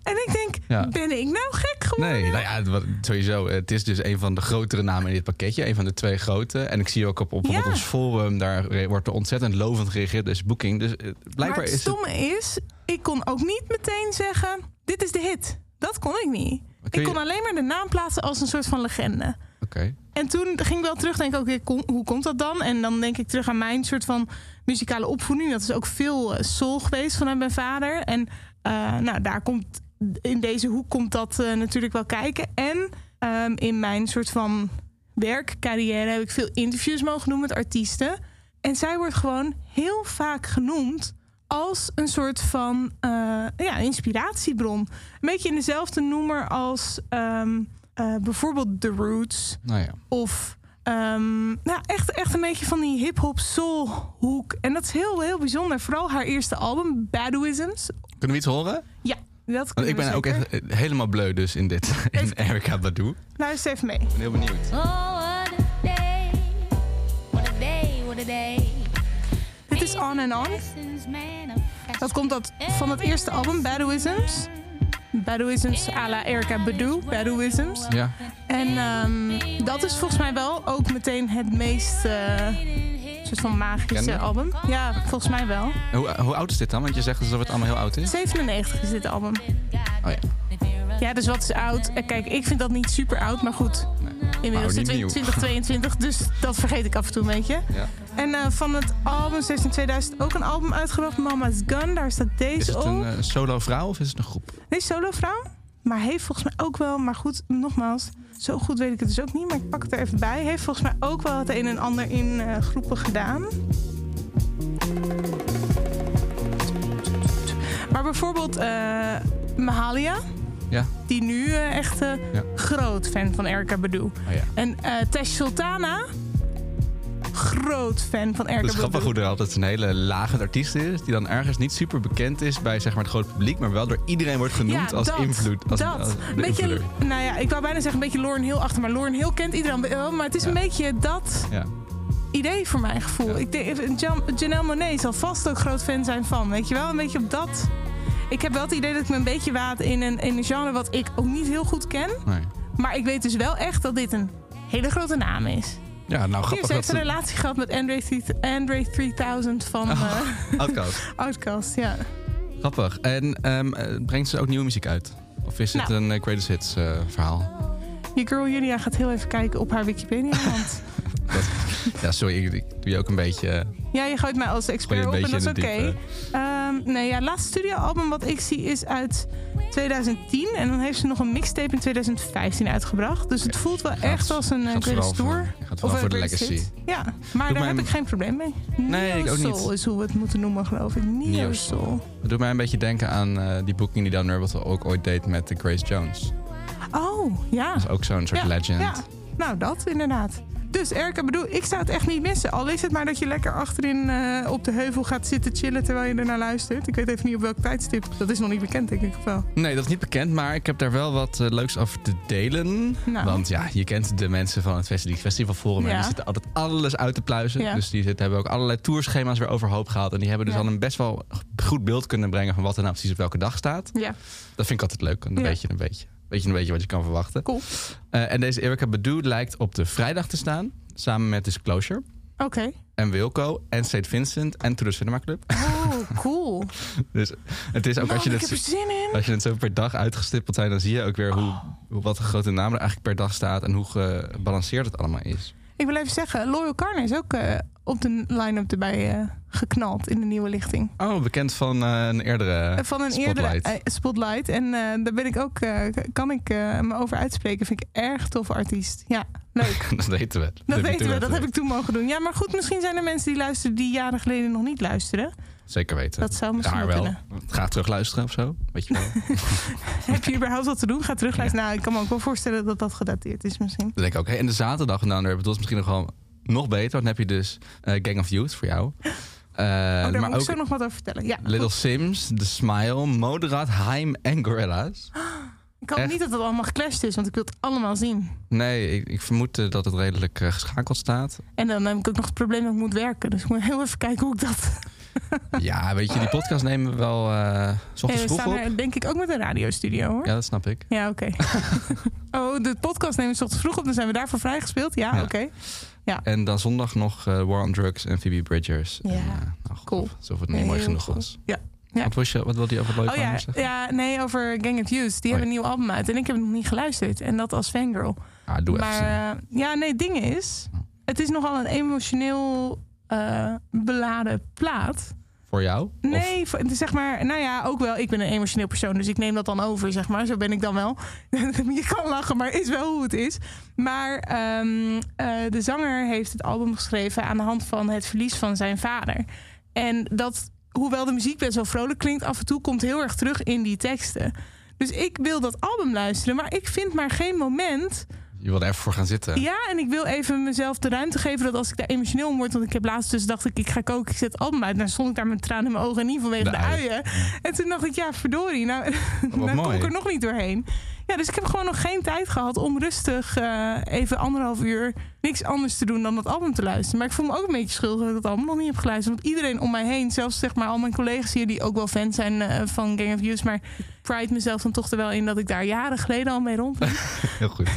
Speaker 2: en ik denk,
Speaker 1: Ja.
Speaker 2: ben ik nou gek geworden?
Speaker 1: Nee, nou ja, wat- sowieso. Het is dus een van de grotere namen in dit pakketje. Een van de twee grote. En ik zie ook op, op
Speaker 2: Ja.
Speaker 1: ons forum, daar re- wordt er ontzettend lovend gereageerd. Dus boeking. Dus eh, blijkbaar
Speaker 2: maar het
Speaker 1: is het...
Speaker 2: stomme is, ik kon ook niet meteen zeggen: dit is de hit. Dat kon ik niet.
Speaker 1: kun
Speaker 2: Ik
Speaker 1: je-
Speaker 2: kon alleen maar de naam plaatsen als een soort van legende.
Speaker 1: Oké.
Speaker 2: En toen ging ik wel terug denken, oké, kom- hoe komt dat dan? En dan denk ik terug aan mijn soort van muzikale opvoeding. Dat is ook veel eh, soul geweest vanuit mijn vader. En eh, nou, daar komt, in deze hoek komt dat eh, natuurlijk wel kijken. En ehm, in mijn soort van werkcarrière heb ik veel interviews mogen doen met artiesten. En zij wordt gewoon heel vaak genoemd als een soort van eh, ja, inspiratiebron. Een beetje in dezelfde noemer als ehm, eh, bijvoorbeeld The Roots.
Speaker 1: Nou ja.
Speaker 2: Of ehm, nou, echt, echt een beetje van die hip-hop soul hoek. En dat is heel, heel bijzonder. Vooral haar eerste album, Baduisms.
Speaker 1: Kunnen we iets horen?
Speaker 2: Ja, dat
Speaker 1: Want
Speaker 2: kunnen
Speaker 1: ik ben
Speaker 2: we
Speaker 1: ook
Speaker 2: zeker.
Speaker 1: echt eh, helemaal bleu dus in dit. In Erica Badu. Ik
Speaker 2: Luister Nou, even mee.
Speaker 1: ben heel benieuwd.
Speaker 5: Oh, what a day. What a day, what a day.
Speaker 2: Dit is On and On. Dat komt dat van het eerste album, Baduisms. Baduisms à la Erika Badu, Baduisms.
Speaker 1: Ja.
Speaker 2: En ehm, dat is volgens mij wel ook meteen het meest eh, soort van magische
Speaker 1: Bekende?
Speaker 2: album. Ja, volgens mij wel.
Speaker 1: En Hoe, hoe oud is dit dan? Want je zegt alsof het allemaal heel oud is.
Speaker 2: 97 is dit album.
Speaker 1: Oh ja.
Speaker 2: Ja, dus wat is oud? Eh, Kijk, ik vind dat niet super oud, maar goed. Inmiddels
Speaker 1: Nou,
Speaker 2: zitten
Speaker 1: niet
Speaker 2: we in
Speaker 1: nieuw.
Speaker 2: 2022, dus dat vergeet ik af en toe een beetje.
Speaker 1: ja.
Speaker 2: En eh, van het album, ze heeft in 2000 ook een album uitgebracht, Mama's Gun. Daar staat
Speaker 1: Is
Speaker 2: deze
Speaker 1: het
Speaker 2: op.
Speaker 1: een eh, solo vrouw of is het een groep?
Speaker 2: Nee, solovrouw. Maar heeft volgens mij ook wel, maar goed, nogmaals, zo goed weet ik het dus ook niet, maar ik pak het er even bij. Heeft volgens mij ook wel het een en ander in eh, groepen gedaan. Maar bijvoorbeeld eh, Mahalia,
Speaker 1: Ja.
Speaker 2: die nu eh, echt eh,
Speaker 1: Ja.
Speaker 2: groot fan van Erika Badu.
Speaker 1: Oh ja.
Speaker 2: En eh Tesh Sultana, groot fan van Erika
Speaker 1: Het is
Speaker 2: Badu.
Speaker 1: grappig hoe er altijd een hele lage artiest is... die dan ergens niet super bekend is bij zeg maar, het grote publiek... maar wel door iedereen wordt genoemd als invloed. Als,
Speaker 2: dat.
Speaker 1: als de
Speaker 2: beetje,
Speaker 1: invloeder.
Speaker 2: nou ja, ik wou bijna zeggen een beetje Lauren Hill achter, maar Lauren Hill kent iedereen wel. Maar het is
Speaker 1: Ja.
Speaker 2: een beetje dat
Speaker 1: Ja.
Speaker 2: idee voor mijn gevoel.
Speaker 1: Ja.
Speaker 2: Ik denk, eh, Jan- Janelle Monet zal vast ook groot fan zijn van, weet je wel? Een beetje op dat. Ik heb wel het idee dat ik me een beetje waad in een, in een genre wat ik ook niet heel goed ken.
Speaker 1: Nee.
Speaker 2: Maar ik weet dus wel echt dat dit een hele grote naam is.
Speaker 1: ja, nou
Speaker 2: Hier,
Speaker 1: grappig
Speaker 2: ze
Speaker 1: dat
Speaker 2: heeft een
Speaker 1: ze... Oh.
Speaker 2: relatie gehad met Andre, 3000 Andre 3000 van eh
Speaker 1: Outcast.
Speaker 2: Outkast, ja.
Speaker 1: Grappig. En ehm, eh, brengt ze ook nieuwe muziek uit? Of is het
Speaker 2: Nou.
Speaker 1: een eh, greatest hits eh, verhaal?
Speaker 2: Je girl Julia gaat heel even kijken op haar Wikipedia, want...
Speaker 1: Ja, sorry, ik, ik doe je ook een beetje... eh,
Speaker 2: Ja, je gooit mij als
Speaker 1: gooi
Speaker 2: expert
Speaker 1: je
Speaker 2: op
Speaker 1: een
Speaker 2: en
Speaker 1: beetje
Speaker 2: dat is oké.
Speaker 1: in het diepe.
Speaker 2: Ehm, nee, ja, het laatste studioalbum wat ik zie is uit 2010. En dan heeft ze nog een mixtape in 2015 uitgebracht. Dus het voelt wel
Speaker 1: Gaat-
Speaker 2: echt als een eh,
Speaker 1: gaat
Speaker 2: greatest
Speaker 1: vooral
Speaker 2: tour.
Speaker 1: voor- gaat vooral
Speaker 2: een
Speaker 1: voor de
Speaker 2: greatest
Speaker 1: legacy.
Speaker 2: hit. Ja, maar daar
Speaker 1: mij
Speaker 2: heb
Speaker 1: een-
Speaker 2: ik geen probleem mee.
Speaker 1: Nee, ik ook niet.
Speaker 2: Soul is hoe we het moeten noemen, geloof ik. Neo,
Speaker 1: Neo Soul.
Speaker 2: Soul.
Speaker 1: Het doet mij een beetje denken aan eh, die boeking die Dan Nurbatel ook ooit deed met de Grace Jones.
Speaker 2: Oh, ja.
Speaker 1: Dat is ook zo'n soort
Speaker 2: ja,
Speaker 1: legend.
Speaker 2: ja. nou dat inderdaad. Dus Erika, bedoel, ik zou het echt niet missen. Al is het maar dat je lekker achterin eh, op de heuvel gaat zitten chillen terwijl je ernaar luistert. Ik weet even niet op welk tijdstip. Dat is nog niet bekend, denk ik of wel.
Speaker 1: Nee, dat is niet bekend, maar ik heb daar wel wat eh, leuks over te delen.
Speaker 2: Nou.
Speaker 1: Want ja, je kent de mensen van het Festival, Festivalforum. En
Speaker 2: Ja.
Speaker 1: die zitten altijd alles uit te pluizen.
Speaker 2: Ja.
Speaker 1: Dus die zitten, hebben ook allerlei tourschema's weer overhoop gehaald. En die hebben dus
Speaker 2: Ja.
Speaker 1: al een best wel goed beeld kunnen brengen... van wat er nou precies op welke dag staat.
Speaker 2: Ja.
Speaker 1: Dat vind ik altijd leuk. want Dan
Speaker 2: Ja.
Speaker 1: weet je een beetje, weet je een beetje wat je kan verwachten.
Speaker 2: Cool.
Speaker 1: Eh, en deze Erica Badu lijkt op de vrijdag te staan. Samen met Disclosure
Speaker 2: Oké.
Speaker 1: en Wilco en St. Vincent en To The Cinema Club.
Speaker 2: Oh, cool.
Speaker 1: Dus het is ook
Speaker 2: Man,
Speaker 1: als je
Speaker 2: Nou, ik heb er
Speaker 1: het...
Speaker 2: zin in.
Speaker 1: Als je het zo per dag uitgestippeld zijn, dan zie je ook weer hoe,
Speaker 2: Oh.
Speaker 1: hoe- wat een grote naam er eigenlijk per dag staat en hoe gebalanceerd het allemaal is.
Speaker 2: Ik wil even zeggen, Loyal Carne is ook eh, op de line-up erbij eh, geknald in de nieuwe lichting.
Speaker 1: Oh, bekend van eh, een eerdere.
Speaker 2: Van een
Speaker 1: Spotlight.
Speaker 2: eerdere eh, Spotlight. En eh, daar ben ik ook, eh, kan ik eh, me over uitspreken. Vind ik erg tof artiest. Ja, leuk.
Speaker 1: dat weten we.
Speaker 2: Dat
Speaker 1: heb je toen
Speaker 2: weten we, dat
Speaker 1: weten.
Speaker 2: heb ik toen mogen doen. Ja, maar goed, misschien zijn er mensen die luisteren die jaren geleden nog niet luisteren.
Speaker 1: Zeker weten.
Speaker 2: Dat zou misschien
Speaker 1: Daar
Speaker 2: wel
Speaker 1: wel.
Speaker 2: kunnen.
Speaker 1: Graag terugluisteren of zo. Weet je wel.
Speaker 2: Heb je überhaupt wat te doen? Ga terugluisteren. Nou, ik kan me ook wel voorstellen dat dat gedateerd is misschien.
Speaker 1: Dan denk ik ook. Hey, en de zaterdag gedaan hebben we misschien nog wel nog beter. Want dan heb je dus eh, Gang of Youth voor jou. Eh,
Speaker 2: Oh, daar
Speaker 1: maar
Speaker 2: moet ik
Speaker 1: ook
Speaker 2: zo nog wat over vertellen. Ja,
Speaker 1: Little Sims, The Smile, Moderat, Heim en Gorillas.
Speaker 2: ik hoop
Speaker 1: echt.
Speaker 2: niet dat dat allemaal geclashed is, want ik wil het allemaal zien.
Speaker 1: Nee, ik, ik vermoed eh, dat het redelijk eh, geschakeld staat.
Speaker 2: En dan heb ik ook nog het probleem dat ik moet werken. Dus ik moet heel even kijken hoe ik dat...
Speaker 1: ja, weet je, die podcast nemen we wel eh, s
Speaker 2: En
Speaker 1: ochtends
Speaker 2: we
Speaker 1: vroeg
Speaker 2: staan
Speaker 1: op.
Speaker 2: er, denk ik ook met een radiostudio, hoor. Ja,
Speaker 1: Ja, dat snap ik.
Speaker 2: oké. oh, de podcast nemen we 's ochtends vroeg op, dan zijn we daarvoor vrijgespeeld. Ja,
Speaker 1: Ja.
Speaker 2: oké.
Speaker 1: En dan zondag nog eh, War on Drugs en Phoebe Bridgers.
Speaker 2: Ja,
Speaker 1: En, eh, nou, goed,
Speaker 2: cool.
Speaker 1: Alsof het niet mooi
Speaker 2: Heel
Speaker 1: genoeg
Speaker 2: goed.
Speaker 1: was.
Speaker 2: Ja, ja.
Speaker 1: Wat, was je, wat wilde je over het leuke
Speaker 2: Oh ja,
Speaker 1: zeggen?
Speaker 2: ja, nee, over Gang of Youth. Die
Speaker 1: Oh ja.
Speaker 2: hebben een nieuw album uit en ik heb het nog niet geluisterd. En dat als fangirl.
Speaker 1: Ah, doe
Speaker 2: maar
Speaker 1: even. snel.
Speaker 2: eh, ja, nee, het ding is...
Speaker 1: Oh.
Speaker 2: Het is nogal een emotioneel eh, beladen plaat.
Speaker 1: Voor jou? Of-
Speaker 2: Nee, voor- zeg maar, nou ja, ook wel. Ik ben een emotioneel persoon, dus ik neem dat dan over, zeg maar. Zo ben ik dan wel. Je kan lachen, maar is wel hoe het is. Maar ehm, eh, de zanger heeft het album geschreven aan de hand van het verlies van zijn vader. En dat, hoewel de muziek best wel vrolijk klinkt, af en toe komt heel erg terug in die teksten. Dus ik wil dat album luisteren, maar ik vind maar geen moment
Speaker 1: je wilde er even voor gaan zitten.
Speaker 2: ja, en ik wil even mezelf de ruimte geven dat als ik daar emotioneel om word. Want ik heb laatst dus dacht ik, ik ga koken, ik zet het album uit. En dan stond ik daar met tranen in mijn ogen en niet vanwege
Speaker 1: De
Speaker 2: de,
Speaker 1: uien.
Speaker 2: uien. En toen dacht ik, ja, verdorie, nou,
Speaker 1: wat
Speaker 2: dan kom
Speaker 1: mooi.
Speaker 2: ik er nog niet doorheen. Ja, dus ik heb gewoon nog geen tijd gehad om rustig eh, even anderhalf uur niks anders te doen dan dat album te luisteren. Maar ik voel me ook een beetje schuldig dat ik dat album nog niet heb geluisterd. Want iedereen om mij heen, zelfs zeg maar al mijn collega's hier die ook wel fan zijn eh, van Gang of Youths. Maar ik pride mezelf dan toch er wel in dat ik daar jaren geleden al mee rond
Speaker 1: Heel goed.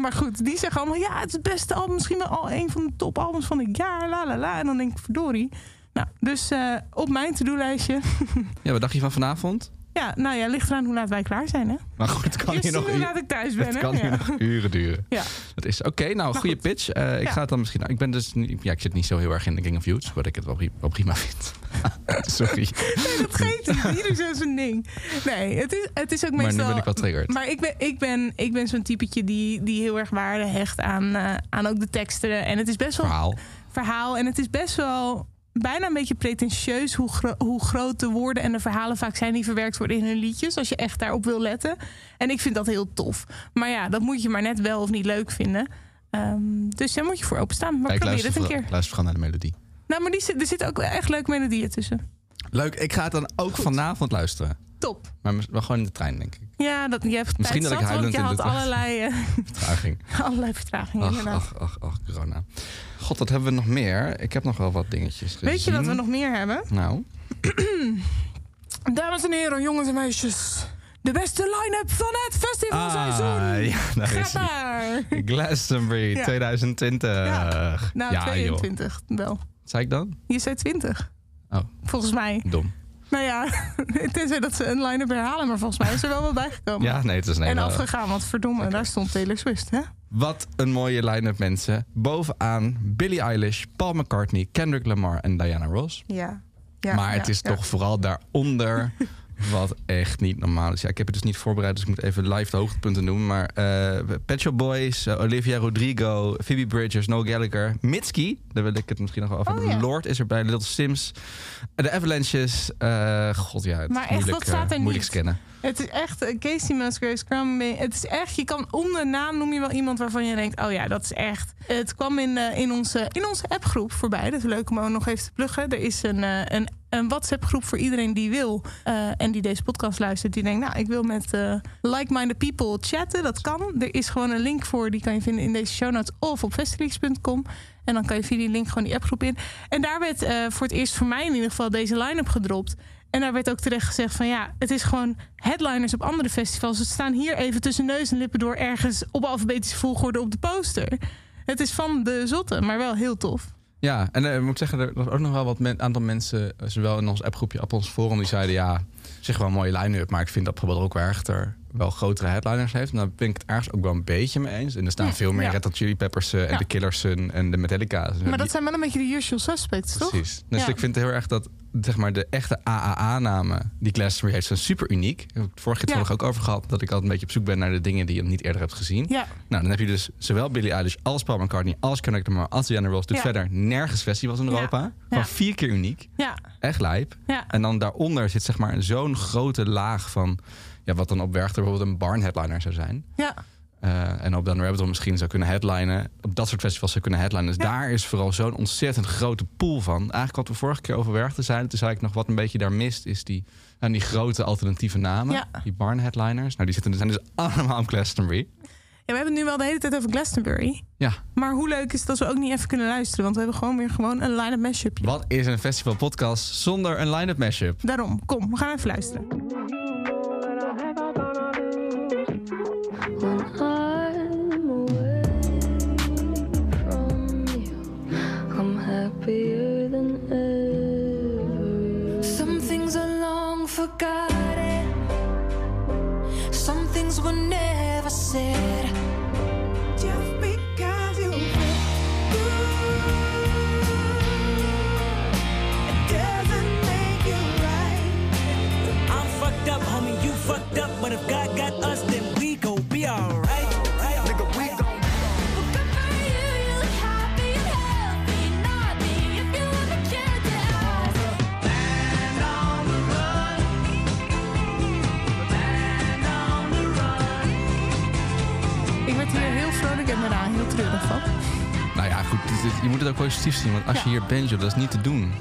Speaker 2: maar goed, die zeggen allemaal: ja, het is het beste album. Misschien wel al een van de topalbums van het jaar. La la la. En dan denk ik: verdorie. Nou, dus eh, op mijn to-do-lijstje.
Speaker 1: Ja, wat dacht je van vanavond?
Speaker 2: Ja, nou ja, ligt eraan hoe laat wij klaar zijn, hè?
Speaker 1: Maar goed, het kan
Speaker 2: Eerst
Speaker 1: hier
Speaker 2: zien
Speaker 1: nog
Speaker 2: hoe
Speaker 1: uur-
Speaker 2: laat ik thuis ben,
Speaker 1: Het
Speaker 2: hè?
Speaker 1: kan
Speaker 2: Ja.
Speaker 1: hier nog uren duren.
Speaker 2: Ja.
Speaker 1: Dat is oké. nou,
Speaker 2: Maar
Speaker 1: goede
Speaker 2: goed.
Speaker 1: pitch. Eh, ik
Speaker 2: Ja.
Speaker 1: ga het dan misschien. Ja, ik ben dus. niet- Ja, ik zit niet zo heel erg in de King of Youths, wat ik het wel, pri- wel prima vind. Sorry.
Speaker 2: Nee, dat geeft niet. Ieder zo zijn dus ding. Nee, het is, het is ook
Speaker 1: Maar
Speaker 2: meestal...
Speaker 1: nu ben ik wel triggered.
Speaker 2: Maar ik ben, ik ben, ik ben zo'n typetje die, die heel erg waarde hecht aan, eh, aan ook de teksten. En het is best wel
Speaker 1: Verhaal.
Speaker 2: verhaal. En het is best wel bijna een beetje pretentieus hoe, gro- hoe groot de woorden en de verhalen vaak zijn die verwerkt worden in hun liedjes. Als je echt daarop wil letten. En ik vind dat heel tof. Maar ja, dat moet je maar net wel of niet leuk vinden. Ehm, dus daar moet je voor openstaan. Maar
Speaker 1: Ja, ik
Speaker 2: probeer
Speaker 1: luister,
Speaker 2: het een
Speaker 1: vooral,
Speaker 2: keer.
Speaker 1: ik luister vooral naar de melodie.
Speaker 2: Nou, maar die, zit- er zitten ook echt leuke melodieën tussen.
Speaker 1: Leuk. Ik ga het dan ook vanavond luisteren.
Speaker 2: Top.
Speaker 1: Maar mis- wel gewoon in de trein, denk ik.
Speaker 2: Ja, dat, je hebt
Speaker 1: Misschien
Speaker 2: tijd
Speaker 1: dat ik
Speaker 2: zat, want
Speaker 1: huilend
Speaker 2: je
Speaker 1: in de
Speaker 2: had
Speaker 1: trein-
Speaker 2: allerlei, eh,
Speaker 1: Vertraging.
Speaker 2: allerlei vertragingen
Speaker 1: Ach,
Speaker 2: inderdaad.
Speaker 1: ach, ach, ach, corona. God, wat hebben we nog meer? Ik heb nog wel wat dingetjes gezien.
Speaker 2: Weet je wat we nog meer hebben?
Speaker 1: Nou,
Speaker 2: Dames en heren, jongens en meisjes. De beste line-up van het festivalseizoen.
Speaker 1: ah, ja, daar
Speaker 2: Ga
Speaker 1: is hij.
Speaker 2: maar.
Speaker 1: Glastonbury
Speaker 2: Ja.
Speaker 1: 2020. Ja,
Speaker 2: Nou,
Speaker 1: joh.
Speaker 2: 22 wel.
Speaker 1: Wat zei ik dan?
Speaker 2: Je zei 20.
Speaker 1: Oh.
Speaker 2: Volgens mij.
Speaker 1: Dom.
Speaker 2: Nou ja, tenzij dat ze een line-up herhalen, maar volgens mij is er wel wat bijgekomen.
Speaker 1: Ja, nee, het is een
Speaker 2: en
Speaker 1: hele...
Speaker 2: afgegaan, want verdomme, daar stond Taylor Swift, hè?
Speaker 1: Wat een mooie line-up, mensen. Bovenaan Billie Eilish, Paul McCartney, Kendrick Lamar en Diana Ross.
Speaker 2: Ja. ja
Speaker 1: maar het
Speaker 2: ja,
Speaker 1: is
Speaker 2: ja.
Speaker 1: toch vooral daaronder wat echt niet normaal is. Ja, ik heb het dus niet voorbereid, dus ik moet even live de hoogtepunten noemen. Maar eh Pet Shop Boys, eh, Olivia Rodrigo, Phoebe Bridgers, Noel Gallagher, Mitski, daar wil ik het misschien nog wel over
Speaker 2: Oh,
Speaker 1: hebben.
Speaker 2: ja.
Speaker 1: Lord is erbij, Little Sims, eh, de Avalanches. eh, God ja, het
Speaker 2: Maar
Speaker 1: is
Speaker 2: echt,
Speaker 1: moeilijk,
Speaker 2: wat staat er
Speaker 1: eh, moeilijk
Speaker 2: niet?
Speaker 1: scannen.
Speaker 2: Het is echt eh, Casey Musgraves, Graham May- Het is echt, je kan om de naam noem je wel iemand waarvan je denkt, oh ja, dat is echt. Het kwam in, eh, in, onze, in onze appgroep voorbij. Dat is leuk om ook nog even te pluggen. Er is een, eh, een, een WhatsApp groep voor iedereen die wil eh, en die deze podcast luistert. Die denkt, nou, ik wil met eh, like-minded people chatten. Dat kan. Er is gewoon een link voor, die kan je vinden in deze show notes of op festileaks.com. En dan kan je via die link gewoon die appgroep in. En daar werd eh, voor het eerst voor mij in ieder geval deze line-up gedropt. En daar werd ook terecht gezegd van ja, het is gewoon headliners op andere festivals. Het staan hier even tussen neus en lippen door ergens op alfabetische volgorde op de poster. Het is van de zotte, maar wel heel tof.
Speaker 1: Ja, en eh, ik moet zeggen, er was ook nog wel wat men- aantal mensen, eh, zowel in ons appgroepje, op ons forum, die zeiden ja, zeg wel een mooie line-up, maar ik vind dat bijvoorbeeld ook wel echter wel grotere headliners heeft. En daar ben ik het ergens ook wel een beetje mee eens. En er staan
Speaker 2: Ja,
Speaker 1: veel meer
Speaker 2: ja.
Speaker 1: Red Hot Chili Peppers eh, en
Speaker 2: Ja.
Speaker 1: de Killers en- en de Metallica's.
Speaker 2: Maar dat zijn wel een beetje de usual suspects, toch?
Speaker 1: Precies. Dus
Speaker 2: Ja.
Speaker 1: ik vind heel erg dat zeg maar, de echte AAA-namen die Glastonbury heeft, zijn super uniek. Ik heb het vorige keer
Speaker 2: Ja.
Speaker 1: nog ook over gehad dat ik altijd een beetje op zoek ben naar de dingen die je niet eerder hebt gezien.
Speaker 2: Ja,
Speaker 1: Nou, dan heb je dus zowel Billie Eilish als Paul McCartney als Kendrick Lamar als Diana Ross. Doet
Speaker 2: Ja.
Speaker 1: verder nergens festivals in
Speaker 2: Ja.
Speaker 1: Europa.
Speaker 2: Ja.
Speaker 1: Gewoon vier keer uniek.
Speaker 2: ja,
Speaker 1: Echt lijp.
Speaker 2: ja.
Speaker 1: En dan daaronder zit zeg maar zo'n grote laag van... Ja, wat dan op Werchter bijvoorbeeld een barn headliner zou zijn.
Speaker 2: ja.
Speaker 1: Eh, en op Dan Rabbit Hole misschien zou kunnen headlinen. Op dat soort festivals zou kunnen headlinen. Dus
Speaker 2: Ja.
Speaker 1: daar is vooral zo'n ontzettend grote pool van. Eigenlijk wat we vorige keer over Werchter zeiden... dus eigenlijk nog wat een beetje daar mist... is die, nou, die grote alternatieve namen.
Speaker 2: Ja.
Speaker 1: Die barn headliners. Nou, die zitten, zijn dus allemaal op Glastonbury.
Speaker 2: Ja, we hebben het nu wel de hele tijd over Glastonbury.
Speaker 1: Ja,
Speaker 2: Maar hoe leuk is het dat we ook niet even kunnen luisteren? Want we hebben gewoon weer gewoon een line-up mashupje.
Speaker 1: Wat is een festivalpodcast zonder een line-up mashup?
Speaker 2: Daarom, kom, we gaan even luisteren.
Speaker 5: When I'm away from you, I'm happier than ever.
Speaker 6: Some things are long forgotten. Some things were never said. Just because you feel good, it doesn't make
Speaker 2: vrolijk en daarna heel treurig van.
Speaker 1: Nou ja, goed. dit is- je moet het ook positief zien. Want als je
Speaker 2: Ja.
Speaker 1: hier bent, joh, dat is niet te doen.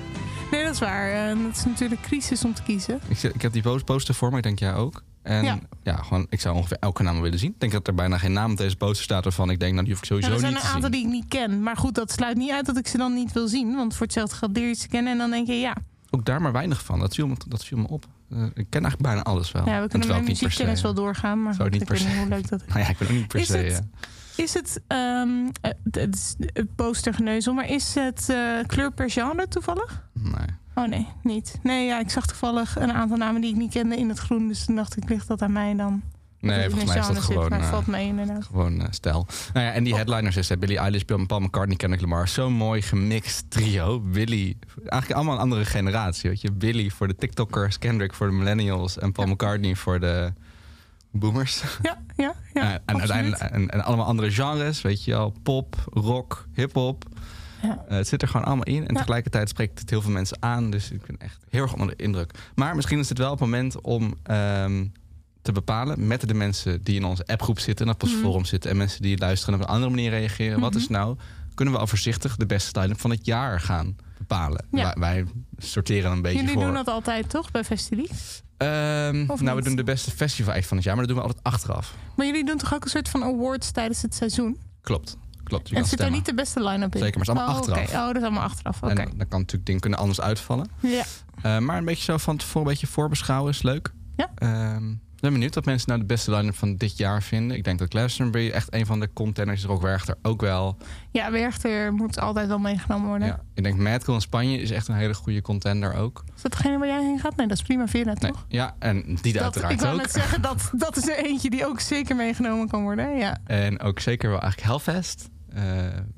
Speaker 2: Nee, dat is waar. En het is natuurlijk crisis om te kiezen.
Speaker 1: Ik, zit- ik heb die po- poster voor me, ik denk jij ook. En ja.
Speaker 2: Ja.
Speaker 1: gewoon, ik zou ongeveer elke naam willen zien. Ik denk dat er bijna geen naam op deze poster staat waarvan ik denk, nou die hoef ik
Speaker 2: Ja,
Speaker 1: sowieso
Speaker 2: er zijn
Speaker 1: niet
Speaker 2: een
Speaker 1: te
Speaker 2: aantal
Speaker 1: zien.
Speaker 2: die ik niet ken. Maar goed, dat sluit niet uit dat ik ze dan niet wil zien. Want voor hetzelfde geld leer je ze kennen en dan denk je, ja,
Speaker 1: Ook daar maar weinig van. Dat viel me, dat viel me op. Eh, ik ken eigenlijk bijna alles Oh, wel.
Speaker 2: ja we
Speaker 1: En
Speaker 2: kunnen
Speaker 1: terwijl
Speaker 2: met
Speaker 1: ik niet per se-
Speaker 2: muziekkennis wel doorgaan. Maar
Speaker 1: Zou
Speaker 2: goed, ik
Speaker 1: het niet
Speaker 2: weet
Speaker 1: per
Speaker 2: niet
Speaker 1: se-
Speaker 2: hoe leuk dat is.
Speaker 1: Nou ja, ik ben ook niet per
Speaker 2: Is
Speaker 1: se...
Speaker 2: het-
Speaker 1: eh,
Speaker 2: Is het, ehm eh, het is een postergeneuzel, maar is het eh, kleur per genre toevallig?
Speaker 1: nee.
Speaker 2: Oh nee, niet. Nee, ja, ik zag toevallig een aantal namen die ik niet kende in het groen. Dus toen dacht ik, ligt dat aan mij dan? Dat
Speaker 1: nee,
Speaker 2: het in
Speaker 1: volgens
Speaker 2: een
Speaker 1: mij is dat
Speaker 2: genre zit,
Speaker 1: gewoon...
Speaker 2: maar het
Speaker 1: eh,
Speaker 2: valt mee inderdaad.
Speaker 1: Gewoon eh, stijl. Nou ja, en die
Speaker 2: Oh.
Speaker 1: headliners is eh, Billie Eilish, Paul Paul McCartney, Kendrick Lamar. Zo'n mooi gemixt trio. Billy, eigenlijk allemaal een andere generatie. Weet je? Billy voor de TikTokkers, Kendrick voor de millennials en Paul McCartney voor de boomers.
Speaker 2: Ja, ja, ja.
Speaker 1: Eh, en, uiteindelijk-
Speaker 2: absoluut.
Speaker 1: en, en allemaal andere genres, weet je wel. Pop, rock, hip-hop.
Speaker 2: Ja.
Speaker 1: Eh, het zit er gewoon allemaal in. En
Speaker 2: Ja.
Speaker 1: tegelijkertijd spreekt het heel veel mensen aan. Dus ik ben echt heel erg onder de indruk. Maar misschien is het wel het moment om ehm, te bepalen met de mensen die in onze appgroep zitten, en op ons
Speaker 2: Mhm.
Speaker 1: forum zitten. En mensen die luisteren en op een andere manier reageren. Wat is nou, kunnen we al voorzichtig de beste style van het jaar gaan bepalen?
Speaker 2: Ja.
Speaker 1: Wij, wij sorteren een beetje
Speaker 2: Jullie
Speaker 1: voor.
Speaker 2: doen dat altijd toch bij Festilie?
Speaker 1: Ehm,
Speaker 2: Of
Speaker 1: nou, we
Speaker 2: niet?
Speaker 1: doen de beste festival act van het jaar, maar dat doen we altijd achteraf.
Speaker 2: Maar jullie doen toch ook een soort van awards tijdens het seizoen?
Speaker 1: Klopt. Klopt. Je
Speaker 2: en
Speaker 1: kan
Speaker 2: zit
Speaker 1: stemmen.
Speaker 2: daar niet de beste line-up in?
Speaker 1: Zeker, maar het is allemaal
Speaker 2: oh, oké.
Speaker 1: achteraf.
Speaker 2: Oh, dat is allemaal achteraf. Oké.
Speaker 1: En dan dan kan natuurlijk dingen kunnen anders uitvallen.
Speaker 2: Ja.
Speaker 1: Eh, maar een beetje zo van tevoren een beetje voorbeschouwen is leuk.
Speaker 2: Ja.
Speaker 1: Ehm, ik ben benieuwd wat mensen nou de beste line-up van dit jaar vinden. Ik denk dat Glastonbury echt een van de contenders is. Rock Werchter ook wel.
Speaker 2: ja, Werchter moet altijd wel meegenomen worden.
Speaker 1: Ja. Ik denk Madcon in Spanje is echt een hele goede contender ook.
Speaker 2: Is dat degene waar jij heen gaat? Nee, dat is Primavera,
Speaker 1: Nee.
Speaker 2: toch?
Speaker 1: Ja, en die
Speaker 2: Dat, ik
Speaker 1: uiteraard
Speaker 2: wou
Speaker 1: ook.
Speaker 2: net zeggen, dat, dat is er eentje die ook zeker meegenomen kan worden. Ja.
Speaker 1: En ook zeker wel eigenlijk Hellfest. eh,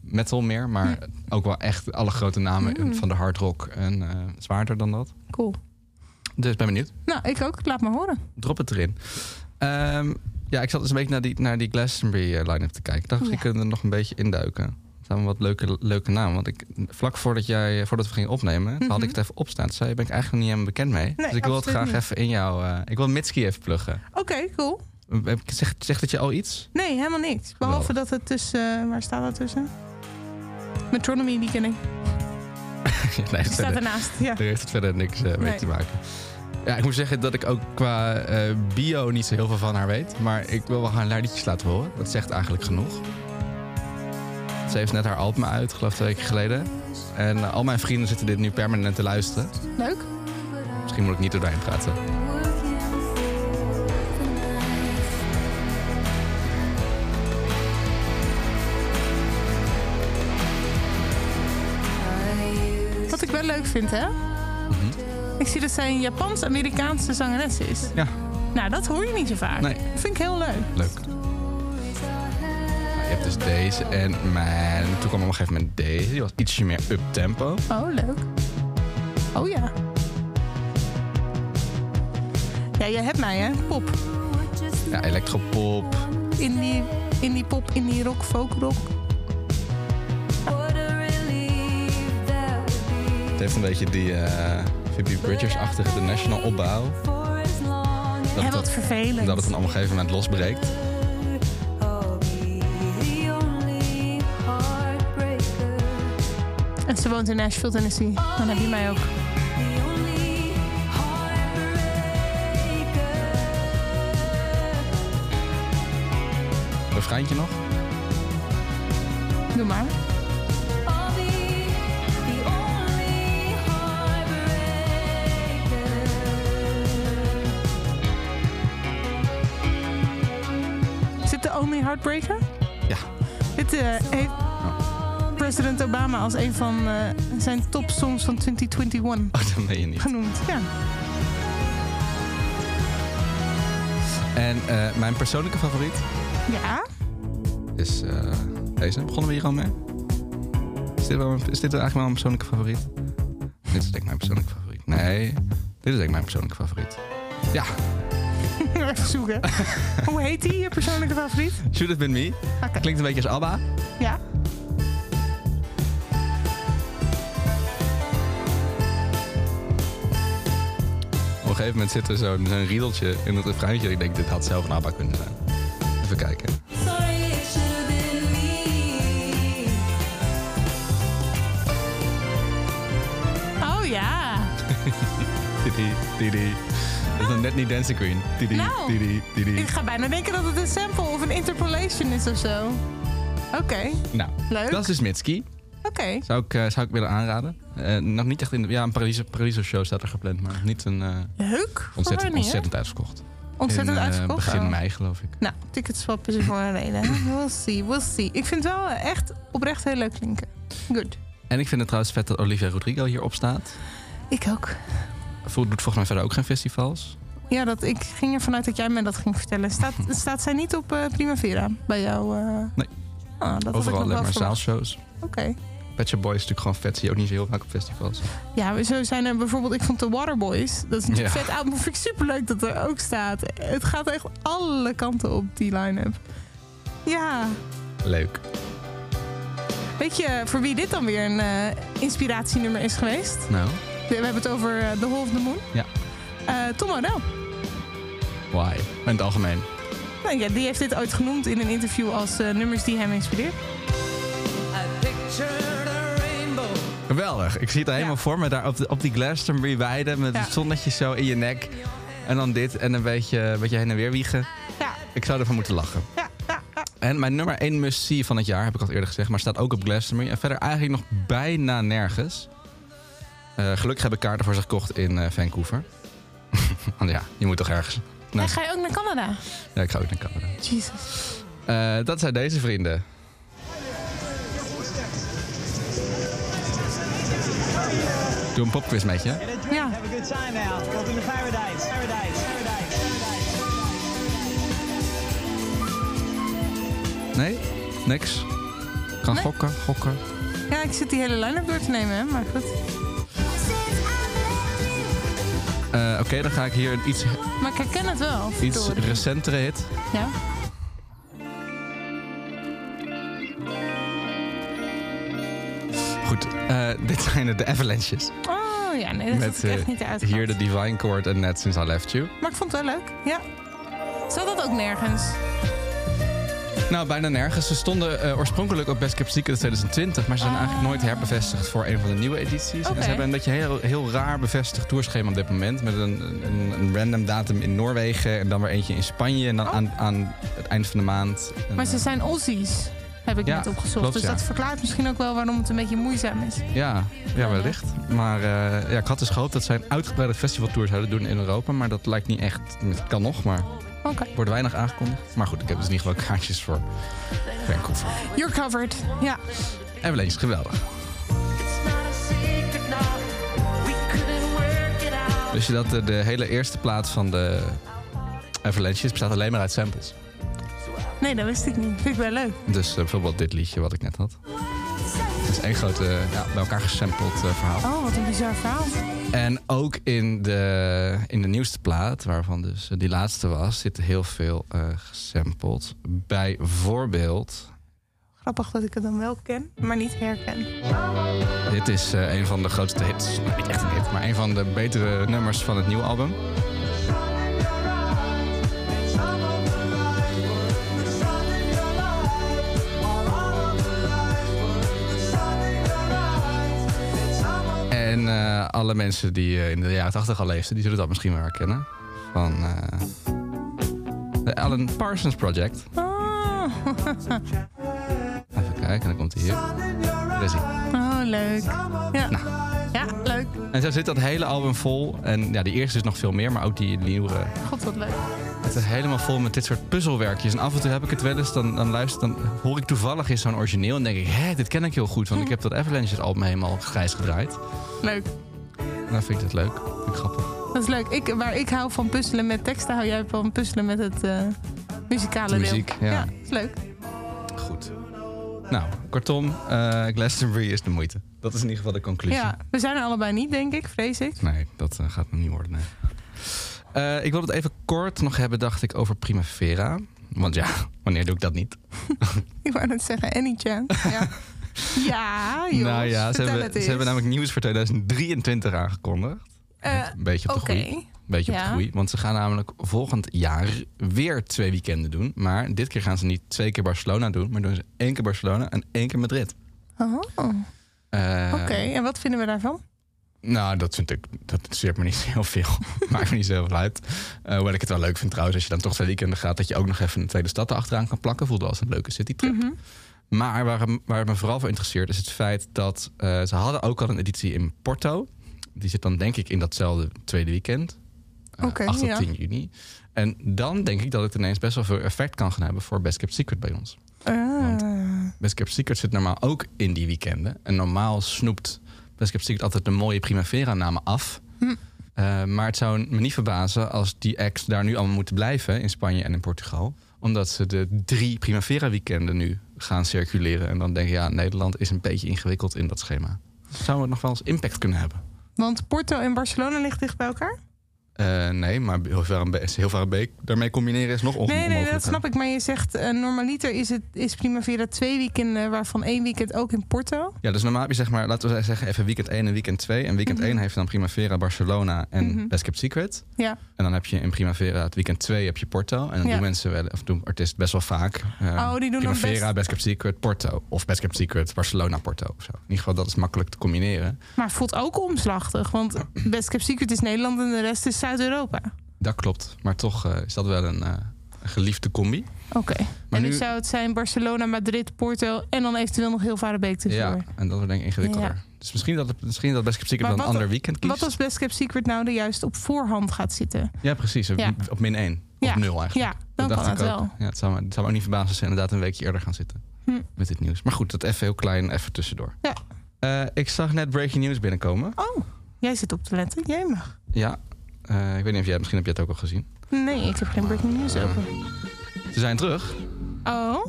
Speaker 1: metal meer, maar
Speaker 2: Hm.
Speaker 1: ook wel echt alle grote namen van de hard rock. En eh, zwaarder dan dat.
Speaker 2: Cool.
Speaker 1: Dus ben benieuwd.
Speaker 2: Nou, ik ook. Laat me horen.
Speaker 1: Drop het erin. Ehm, ja, ik zat dus een beetje naar die, naar die Glastonbury eh, line-up te kijken. Ik dacht,
Speaker 2: Oh, Ja.
Speaker 1: ik kunnen er nog een beetje induiken. Er staan wat leuke, leuke namen. Want ik, vlak voordat, jij, eh, voordat we gingen opnemen, toen had ik het even opstaan. Toen zei je, ben ik eigenlijk nog niet helemaal bekend mee. dus ik wil het
Speaker 2: Mhm. absoluut
Speaker 1: graag
Speaker 2: niet.
Speaker 1: even in jou... eh, ik wil Mitski even pluggen.
Speaker 2: Oké, cool.
Speaker 1: Heb ik- Zegt zegt het je al iets?
Speaker 2: Nee, helemaal niks. Behalve dat het tussen... eh, waar staat dat tussen? Metronomy, die ken ik.
Speaker 1: Ja, nee,
Speaker 2: Die staat
Speaker 1: verder.
Speaker 2: ernaast. Ja.
Speaker 1: Daar heeft het verder niks eh, mee
Speaker 2: Nee.
Speaker 1: te maken. Ja, ik moet zeggen dat ik ook qua eh, bio niet zo heel veel van haar weet. Maar ik wil wel haar liedjes laten horen. Dat zegt eigenlijk genoeg. Ze heeft net haar album uit, geloof ik twee weken geleden. En eh, al mijn vrienden zitten dit nu permanent te luisteren.
Speaker 2: Leuk.
Speaker 1: Misschien moet ik niet doorheen praten.
Speaker 2: Wat ik wel leuk vind, hè? Ik zie dat zij een Japans-Amerikaanse zangeres is.
Speaker 1: Ja,
Speaker 2: Nou, dat hoor je niet zo vaak.
Speaker 1: Nee.
Speaker 2: Dat vind ik heel leuk.
Speaker 1: leuk. Nou, je hebt dus deze en mijn... Toen kwam op een gegeven moment deze. Die was ietsje meer up-tempo.
Speaker 2: Oh, leuk. Oh ja. Ja, jij hebt mij, hè? Pop.
Speaker 1: Ja, electropop.
Speaker 2: In die, in die pop, in die rock, folk rock.
Speaker 1: Het heeft een beetje die eh Phoebe Bridgers-achtige de national opbouw. Dat
Speaker 2: Hé,
Speaker 1: het-
Speaker 2: wat vervelend.
Speaker 1: Dat het dan op een gegeven moment losbreekt.
Speaker 2: En ze woont in Nashville, Tennessee. Dan heb je mij ook.
Speaker 1: Refreintje nog?
Speaker 2: Doe maar. Zit de Only Heartbreaker?
Speaker 1: Ja.
Speaker 2: Dit eh, heeft president Obama als een van eh, zijn topsongs van 2021
Speaker 1: Oh, dat meen je niet.
Speaker 2: genoemd. Ja.
Speaker 1: En eh, mijn persoonlijke favoriet
Speaker 2: Ja?
Speaker 1: is eh, deze. Begonnen we hier al mee? Is dit, wel mijn- is dit eigenlijk wel mijn persoonlijke favoriet? Dit is denk ik mijn persoonlijke favoriet. Nee, dit is denk ik mijn persoonlijke favoriet. Ja,
Speaker 2: Even zoeken. Hoe heet die, je persoonlijke favoriet?
Speaker 1: Should Have Been Me.
Speaker 2: Oké.
Speaker 1: Klinkt een beetje als ABBA.
Speaker 2: Ja?
Speaker 1: Op een gegeven moment zit er zo'n zo'n riedeltje in het refreintje. Ik denk, dit had zelf een ABBA kunnen zijn. Even kijken.
Speaker 6: Sorry, it should have been
Speaker 2: Oh,
Speaker 1: Didi. Dat is dan net niet Dancing Queen. Didi,
Speaker 2: Nou.
Speaker 1: didi, didi.
Speaker 2: Ik ga bijna denken dat het een sample of een interpolation is of zo. Oké,
Speaker 1: Nou,
Speaker 2: Leuk.
Speaker 1: dat is dus Mitski.
Speaker 2: oké.
Speaker 1: Zou ik, eh, zou ik willen aanraden. Eh, nog niet echt in de... Ja, een Paradiso, Paradiso show staat er gepland, maar niet een... eh,
Speaker 2: Leuk. Voor
Speaker 1: ontzettend,
Speaker 2: wanneer?
Speaker 1: ontzettend uitverkocht.
Speaker 2: Ontzettend
Speaker 1: in, eh,
Speaker 2: uitverkocht.
Speaker 1: begin
Speaker 2: Oh.
Speaker 1: mei, geloof ik.
Speaker 2: Nou, ticketswap is er voor een reden. We'll see, we'll see. Ik vind het wel eh, echt oprecht heel leuk klinken. Good.
Speaker 1: En ik vind het trouwens vet dat Olivia Rodrigo hierop staat.
Speaker 2: Ik ook.
Speaker 1: Voelt doet volgens mij verder ook geen festivals.
Speaker 2: Ja, dat, ik ging ervan uit dat jij mij dat ging vertellen. Staat, staat zij niet op eh, Primavera bij jou? eh?
Speaker 1: Nee.
Speaker 2: Ah, dat
Speaker 1: Overal
Speaker 2: had ik nog
Speaker 1: alleen
Speaker 2: wel
Speaker 1: maar
Speaker 2: verwacht.
Speaker 1: zaalshows.
Speaker 2: Oké.
Speaker 1: Pet Shop Boys is natuurlijk gewoon vet. Zie je ook niet zo heel vaak op festivals.
Speaker 2: Ja, maar zo zijn er bijvoorbeeld... Ik vond The Waterboys, dat is een
Speaker 1: Ja.
Speaker 2: vet album. Vind ik superleuk dat er ook staat. Het gaat echt alle kanten op, die line-up. Ja,
Speaker 1: Leuk.
Speaker 2: weet je voor wie dit dan weer een eh, inspiratienummer is geweest?
Speaker 1: Nou,
Speaker 2: We hebben het over eh, The Hole of the Moon.
Speaker 1: Ja.
Speaker 2: Eh, Tom O'Dell.
Speaker 1: why? In het algemeen.
Speaker 2: Nou ja, die heeft dit ooit genoemd in een interview als eh, nummers die hem inspireert.
Speaker 1: Geweldig. Ik zie het er helemaal
Speaker 2: Ja.
Speaker 1: voor me. Daar op, de- op die Glastonbury weide met
Speaker 2: Ja.
Speaker 1: het zonnetje zo in je nek. En dan dit en een beetje, een beetje heen en weer wiegen.
Speaker 2: Ja,
Speaker 1: Ik zou ervan moeten lachen.
Speaker 2: ja, ja, ja.
Speaker 1: En mijn nummer 1 must-see van het jaar, heb ik al eerder gezegd, maar staat ook op Glastonbury. En verder eigenlijk nog bijna nergens. Eh, gelukkig heb ik kaarten voor ze gekocht in eh, Vancouver. Want ja, je moet toch ergens.
Speaker 2: En ga je ook naar Canada?
Speaker 1: Ja, ik ga ook naar Canada.
Speaker 2: Jesus.
Speaker 1: Eh, dat zijn deze vrienden. Doe een popquiz met je.
Speaker 2: Ja.
Speaker 7: Have a good time now. Welcome to paradise. Paradise. Paradise. Paradise.
Speaker 1: Nee? Niks? Kan
Speaker 2: Nee.
Speaker 1: gokken, gokken.
Speaker 2: Ja, ik zit die hele line-up door te nemen, hè. maar goed.
Speaker 1: Eh, Oké, dan ga ik hier een iets,
Speaker 2: Maar ik herken het wel.
Speaker 1: iets eh,
Speaker 2: verdorie.
Speaker 1: recentere hit.
Speaker 2: Ja.
Speaker 1: Goed, eh, dit zijn de Avalanches.
Speaker 2: Oh ja, nee, dat is
Speaker 1: eh,
Speaker 2: echt niet uit.
Speaker 1: hier de Divine Chord en Net Since I Left You.
Speaker 2: Maar ik vond het wel leuk. Ja. Zat dat ook nergens?
Speaker 1: Nou, bijna nergens. Ze stonden eh, oorspronkelijk op Best Kept Secret 2020... maar ze zijn eigenlijk nooit herbevestigd voor een van de nieuwe edities. En
Speaker 2: Ah. Oké.
Speaker 1: ze hebben een beetje heel, heel raar bevestigd tourschema op dit moment... met een, een, een random datum in Noorwegen en dan weer eentje in Spanje... en dan
Speaker 2: Oh.
Speaker 1: aan, aan het eind van de maand. En,
Speaker 2: Maar ze
Speaker 1: eh,
Speaker 2: zijn Aussies, heb ik
Speaker 1: Ja,
Speaker 2: net opgezocht.
Speaker 1: klopt,
Speaker 2: dus
Speaker 1: ja.
Speaker 2: dat verklaart misschien ook wel waarom het een beetje moeizaam is.
Speaker 1: Ja, ja wellicht. Maar eh, ja, ik had dus gehoopt dat zij een uitgebreide festivaltour zouden doen in Europa. Maar dat lijkt niet echt. Het kan nog, maar
Speaker 2: Oké.
Speaker 1: wordt weinig aangekondigd. Maar goed, ik heb dus niet geval kaartjes voor Vancouver.
Speaker 2: You're covered. Ja.
Speaker 1: Avalanche, is geweldig. Dus je dat de, de hele eerste plaat van de Avalanches bestaat alleen maar uit samples.
Speaker 2: Nee, dat wist ik niet. Vind ik wel leuk.
Speaker 1: Dus eh, bijvoorbeeld dit liedje wat ik net had. Het is één groot eh, ja, bij elkaar gesampled eh, verhaal.
Speaker 2: Oh, wat een bizar verhaal.
Speaker 1: En ook in de, in de nieuwste plaat, waarvan dus die laatste was, zit heel veel eh, gesampled. Bijvoorbeeld,
Speaker 2: Grappig dat ik het dan wel ken, maar niet herken.
Speaker 1: dit is eh, een van de grootste hits. Nou, niet echt een hit, maar een van de betere nummers van het nieuwe album. En eh, alle mensen die eh, in de jaren 80 al leefden, die zullen dat misschien wel herkennen. Van eh, de Alan Parsons Project.
Speaker 2: Oh,
Speaker 1: Even kijken, dan komt hij hier. Daar is hij.
Speaker 2: oh leuk. Ja.
Speaker 1: Nou.
Speaker 2: ja, leuk.
Speaker 1: En zo zit dat hele album vol. En ja, die eerste is nog veel meer, maar ook die nieuwe.
Speaker 2: God, wat leuk.
Speaker 1: Het is helemaal vol met dit soort puzzelwerkjes. En af en toe heb ik het wel eens, dan, dan luister dan hoor ik toevallig eens zo'n origineel. En denk ik, hé, dit ken ik heel goed. Want ik heb dat Avalanche album helemaal grijs gedraaid.
Speaker 2: Leuk.
Speaker 1: En dan Nou, vind ik dat leuk. Vind ik grappig.
Speaker 2: Dat is leuk. Ik, waar ik hou van puzzelen met teksten, hou jij van puzzelen met het eh, muzikale
Speaker 1: De
Speaker 2: deel.
Speaker 1: muziek, ja.
Speaker 2: is leuk.
Speaker 1: Goed. Nou, kortom, eh Glastonbury is de moeite. Dat is in ieder geval de conclusie.
Speaker 2: Ja, we zijn er allebei niet, denk ik, vrees ik.
Speaker 1: Nee, dat eh, gaat me niet worden. Nee. Eh, ik wil het even kort nog hebben, dacht ik, over Primavera. Want ja, wanneer doe ik dat niet?
Speaker 2: Ik wou net zeggen, any chance. Ja, ja joh.
Speaker 1: nou ja, ze
Speaker 2: vertel
Speaker 1: hebben,
Speaker 2: het eens.
Speaker 1: ze hebben namelijk nieuws voor 2023 aangekondigd.
Speaker 2: Eh,
Speaker 1: Een beetje op de
Speaker 2: Oké.
Speaker 1: groei. Een beetje op de
Speaker 2: Ja.
Speaker 1: groei. Want ze gaan namelijk volgend jaar weer twee weekenden doen. Maar dit keer gaan ze niet twee keer Barcelona doen. Maar doen ze één keer Barcelona en één keer Madrid.
Speaker 2: Oh, Oké,
Speaker 1: Eh,
Speaker 2: en wat vinden we daarvan?
Speaker 1: Nou, dat vind ik, dat interesseert me niet zo heel veel. Maakt me niet zo heel veel uit. Eh hoewel ik het wel leuk vind trouwens, als je dan toch twee weekenden gaat, dat je ook nog even een tweede stad erachteraan kan plakken. Voelde als een leuke citytrip.
Speaker 2: Mhm.
Speaker 1: Maar waar, het- waar het me vooral voor interesseert, is het feit dat eh, ze hadden ook al een editie in Porto. Die zit dan denk ik in datzelfde tweede weekend. Eh,
Speaker 2: Oké,
Speaker 1: 8 tot
Speaker 2: ja.
Speaker 1: 10 juni. En dan denk ik dat het ineens best wel veel effect kan gaan hebben voor Best Kept Secret bij ons. Want-
Speaker 2: Ah.
Speaker 1: Best Kept Secret zit normaal ook in die weekenden. En normaal snoept Best Kept Secret altijd de mooie Primavera-namen af.
Speaker 2: Hm.
Speaker 1: Eh, maar het zou me niet verbazen als die acts daar nu allemaal moeten blijven in Spanje en in Portugal. Omdat ze de drie Primavera-weekenden nu gaan circuleren. En dan denk je, ja, Nederland is een beetje ingewikkeld in dat schema. Zou het nog wel eens impact kunnen hebben?
Speaker 2: Want Porto en Barcelona liggen dicht bij elkaar?
Speaker 1: Eh, nee, maar Hilvarenbeek, Hilvarenbeek daarmee combineren is nog on
Speaker 2: Nee, nee,
Speaker 1: onmogelijk.
Speaker 2: dat snap ik. Maar je zegt eh, normaliter is, het, is Primavera twee weekenden, waarvan één weekend ook in Porto.
Speaker 1: Ja, dus normaal heb je zeg maar, laten we zeggen, even weekend 1 en weekend 2. En weekend 1 heeft dan Primavera, Barcelona en
Speaker 2: Mhm.
Speaker 1: Best Kept Secret.
Speaker 2: Ja.
Speaker 1: En dan heb je in Primavera, het weekend 2 heb je Porto. En dan
Speaker 2: Ja.
Speaker 1: doen mensen wel, of doen artiesten best wel vaak. eh,
Speaker 2: Oh, die doen dan
Speaker 1: Primavera,
Speaker 2: best-
Speaker 1: Kept Secret, Porto. Of Best Kept Secret, Barcelona, Porto. Of zo. In ieder geval, dat is makkelijk te combineren.
Speaker 2: Maar het voelt ook omslachtig, want Best Kept Secret is Nederland en de rest is Zuid-Europa.
Speaker 1: Dat klopt. Maar toch eh, is dat wel een, eh, een geliefde combi.
Speaker 2: Oké.
Speaker 1: Maar
Speaker 2: En nu
Speaker 1: nu-
Speaker 2: zou het zijn Barcelona, Madrid, Porto en dan eventueel nog heel Varenbeek tussendoor.
Speaker 1: Ja, en dat wordt denk ik ingewikkelder.
Speaker 2: Ja.
Speaker 1: Dus misschien dat, het- misschien dat Best Kept Secret
Speaker 2: Maar
Speaker 1: dan een
Speaker 2: wat-
Speaker 1: ander weekend kiest.
Speaker 2: Wat als Best Kept Secret nou er juist op voorhand gaat zitten?
Speaker 1: Ja, precies. Op,
Speaker 2: Ja.
Speaker 1: op min 1.
Speaker 2: Ja.
Speaker 1: Op 0 eigenlijk.
Speaker 2: Ja, dan
Speaker 1: Dat
Speaker 2: kan
Speaker 1: dacht
Speaker 2: het
Speaker 1: ik ook.
Speaker 2: wel.
Speaker 1: Ja, het, zou me, het zou me ook niet verbazen als ze inderdaad een weekje eerder gaan zitten
Speaker 2: Hm.
Speaker 1: met dit nieuws. Maar goed, dat even heel klein, even tussendoor.
Speaker 2: Ja.
Speaker 1: Eh, ik zag net breaking news binnenkomen.
Speaker 2: Oh, jij zit op te letten. Jij mag.
Speaker 1: Ja, eh, ik weet niet of jij, misschien heb je het ook al gezien.
Speaker 2: Nee, ik heb geen breaking news
Speaker 1: Oh.
Speaker 2: open.
Speaker 1: Ze zijn terug.
Speaker 2: Oh,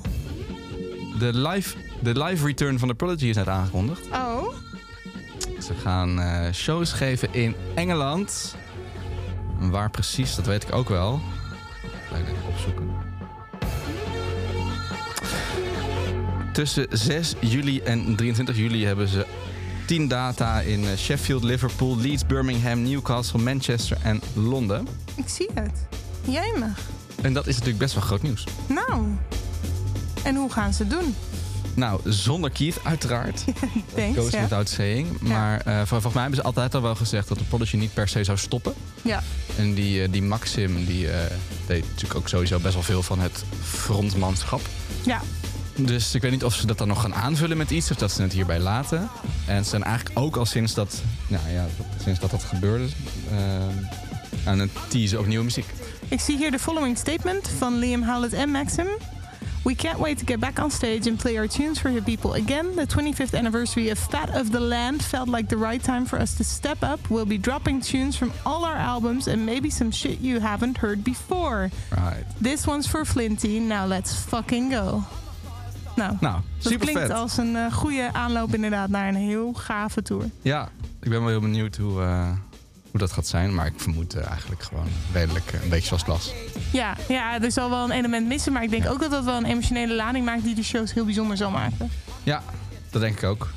Speaker 1: De live, de live return van de Prodigy is net aangekondigd.
Speaker 2: oh.
Speaker 1: Ze gaan eh, shows geven in Engeland. Waar precies, dat weet ik ook wel. Ga ik even opzoeken. Tussen 6 juli en 23 juli hebben ze 10 data in eh, Sheffield, Liverpool, Leeds, Birmingham, Newcastle, Manchester en Londen.
Speaker 2: Ik zie het. Jij mag.
Speaker 1: En dat is natuurlijk best wel groot nieuws.
Speaker 2: Nou. En hoe gaan ze het doen?
Speaker 1: Nou, zonder Keith uiteraard.
Speaker 2: Thanks,
Speaker 1: Goes
Speaker 2: ja.
Speaker 1: without saying. Maar eh, vol- volgens mij hebben ze altijd al wel gezegd dat de Prodigy niet per se zou stoppen.
Speaker 2: ja.
Speaker 1: En die, eh, die Maxim die, eh, deed natuurlijk ook sowieso best wel veel van het frontmanschap.
Speaker 2: Ja.
Speaker 1: Dus ik weet niet of ze dat dan nog gaan aanvullen met iets of dat ze het hierbij laten. En ze zijn eigenlijk ook al sinds dat, nou ja, dat- sinds dat, dat gebeurde eh, aan het teasen op nieuwe muziek.
Speaker 2: Ik zie hier de following statement van Liam Howlett en Maxim. We can't wait to get back on stage and play our tunes for your people again. The 25th anniversary of Fat of the Land felt like the right time for us to step up. We'll be dropping tunes from all our albums and maybe some shit you haven't heard before.
Speaker 1: Right.
Speaker 2: This one's for Flinty, now let's fucking go. Nou,
Speaker 1: Nou,
Speaker 2: dat
Speaker 1: super
Speaker 2: klinkt
Speaker 1: vet.
Speaker 2: als een eh, goede aanloop inderdaad naar een heel gave tour.
Speaker 1: Ja, ik ben wel heel benieuwd hoe, eh, hoe dat gaat zijn. Maar ik vermoed eh, eigenlijk gewoon redelijk eh, een beetje zoals het was.
Speaker 2: Ja, ja, er zal wel een element missen, maar ik denk ook dat dat wel een emotionele lading maakt die de shows heel bijzonder zal maken.
Speaker 1: Ja, dat denk ik ook.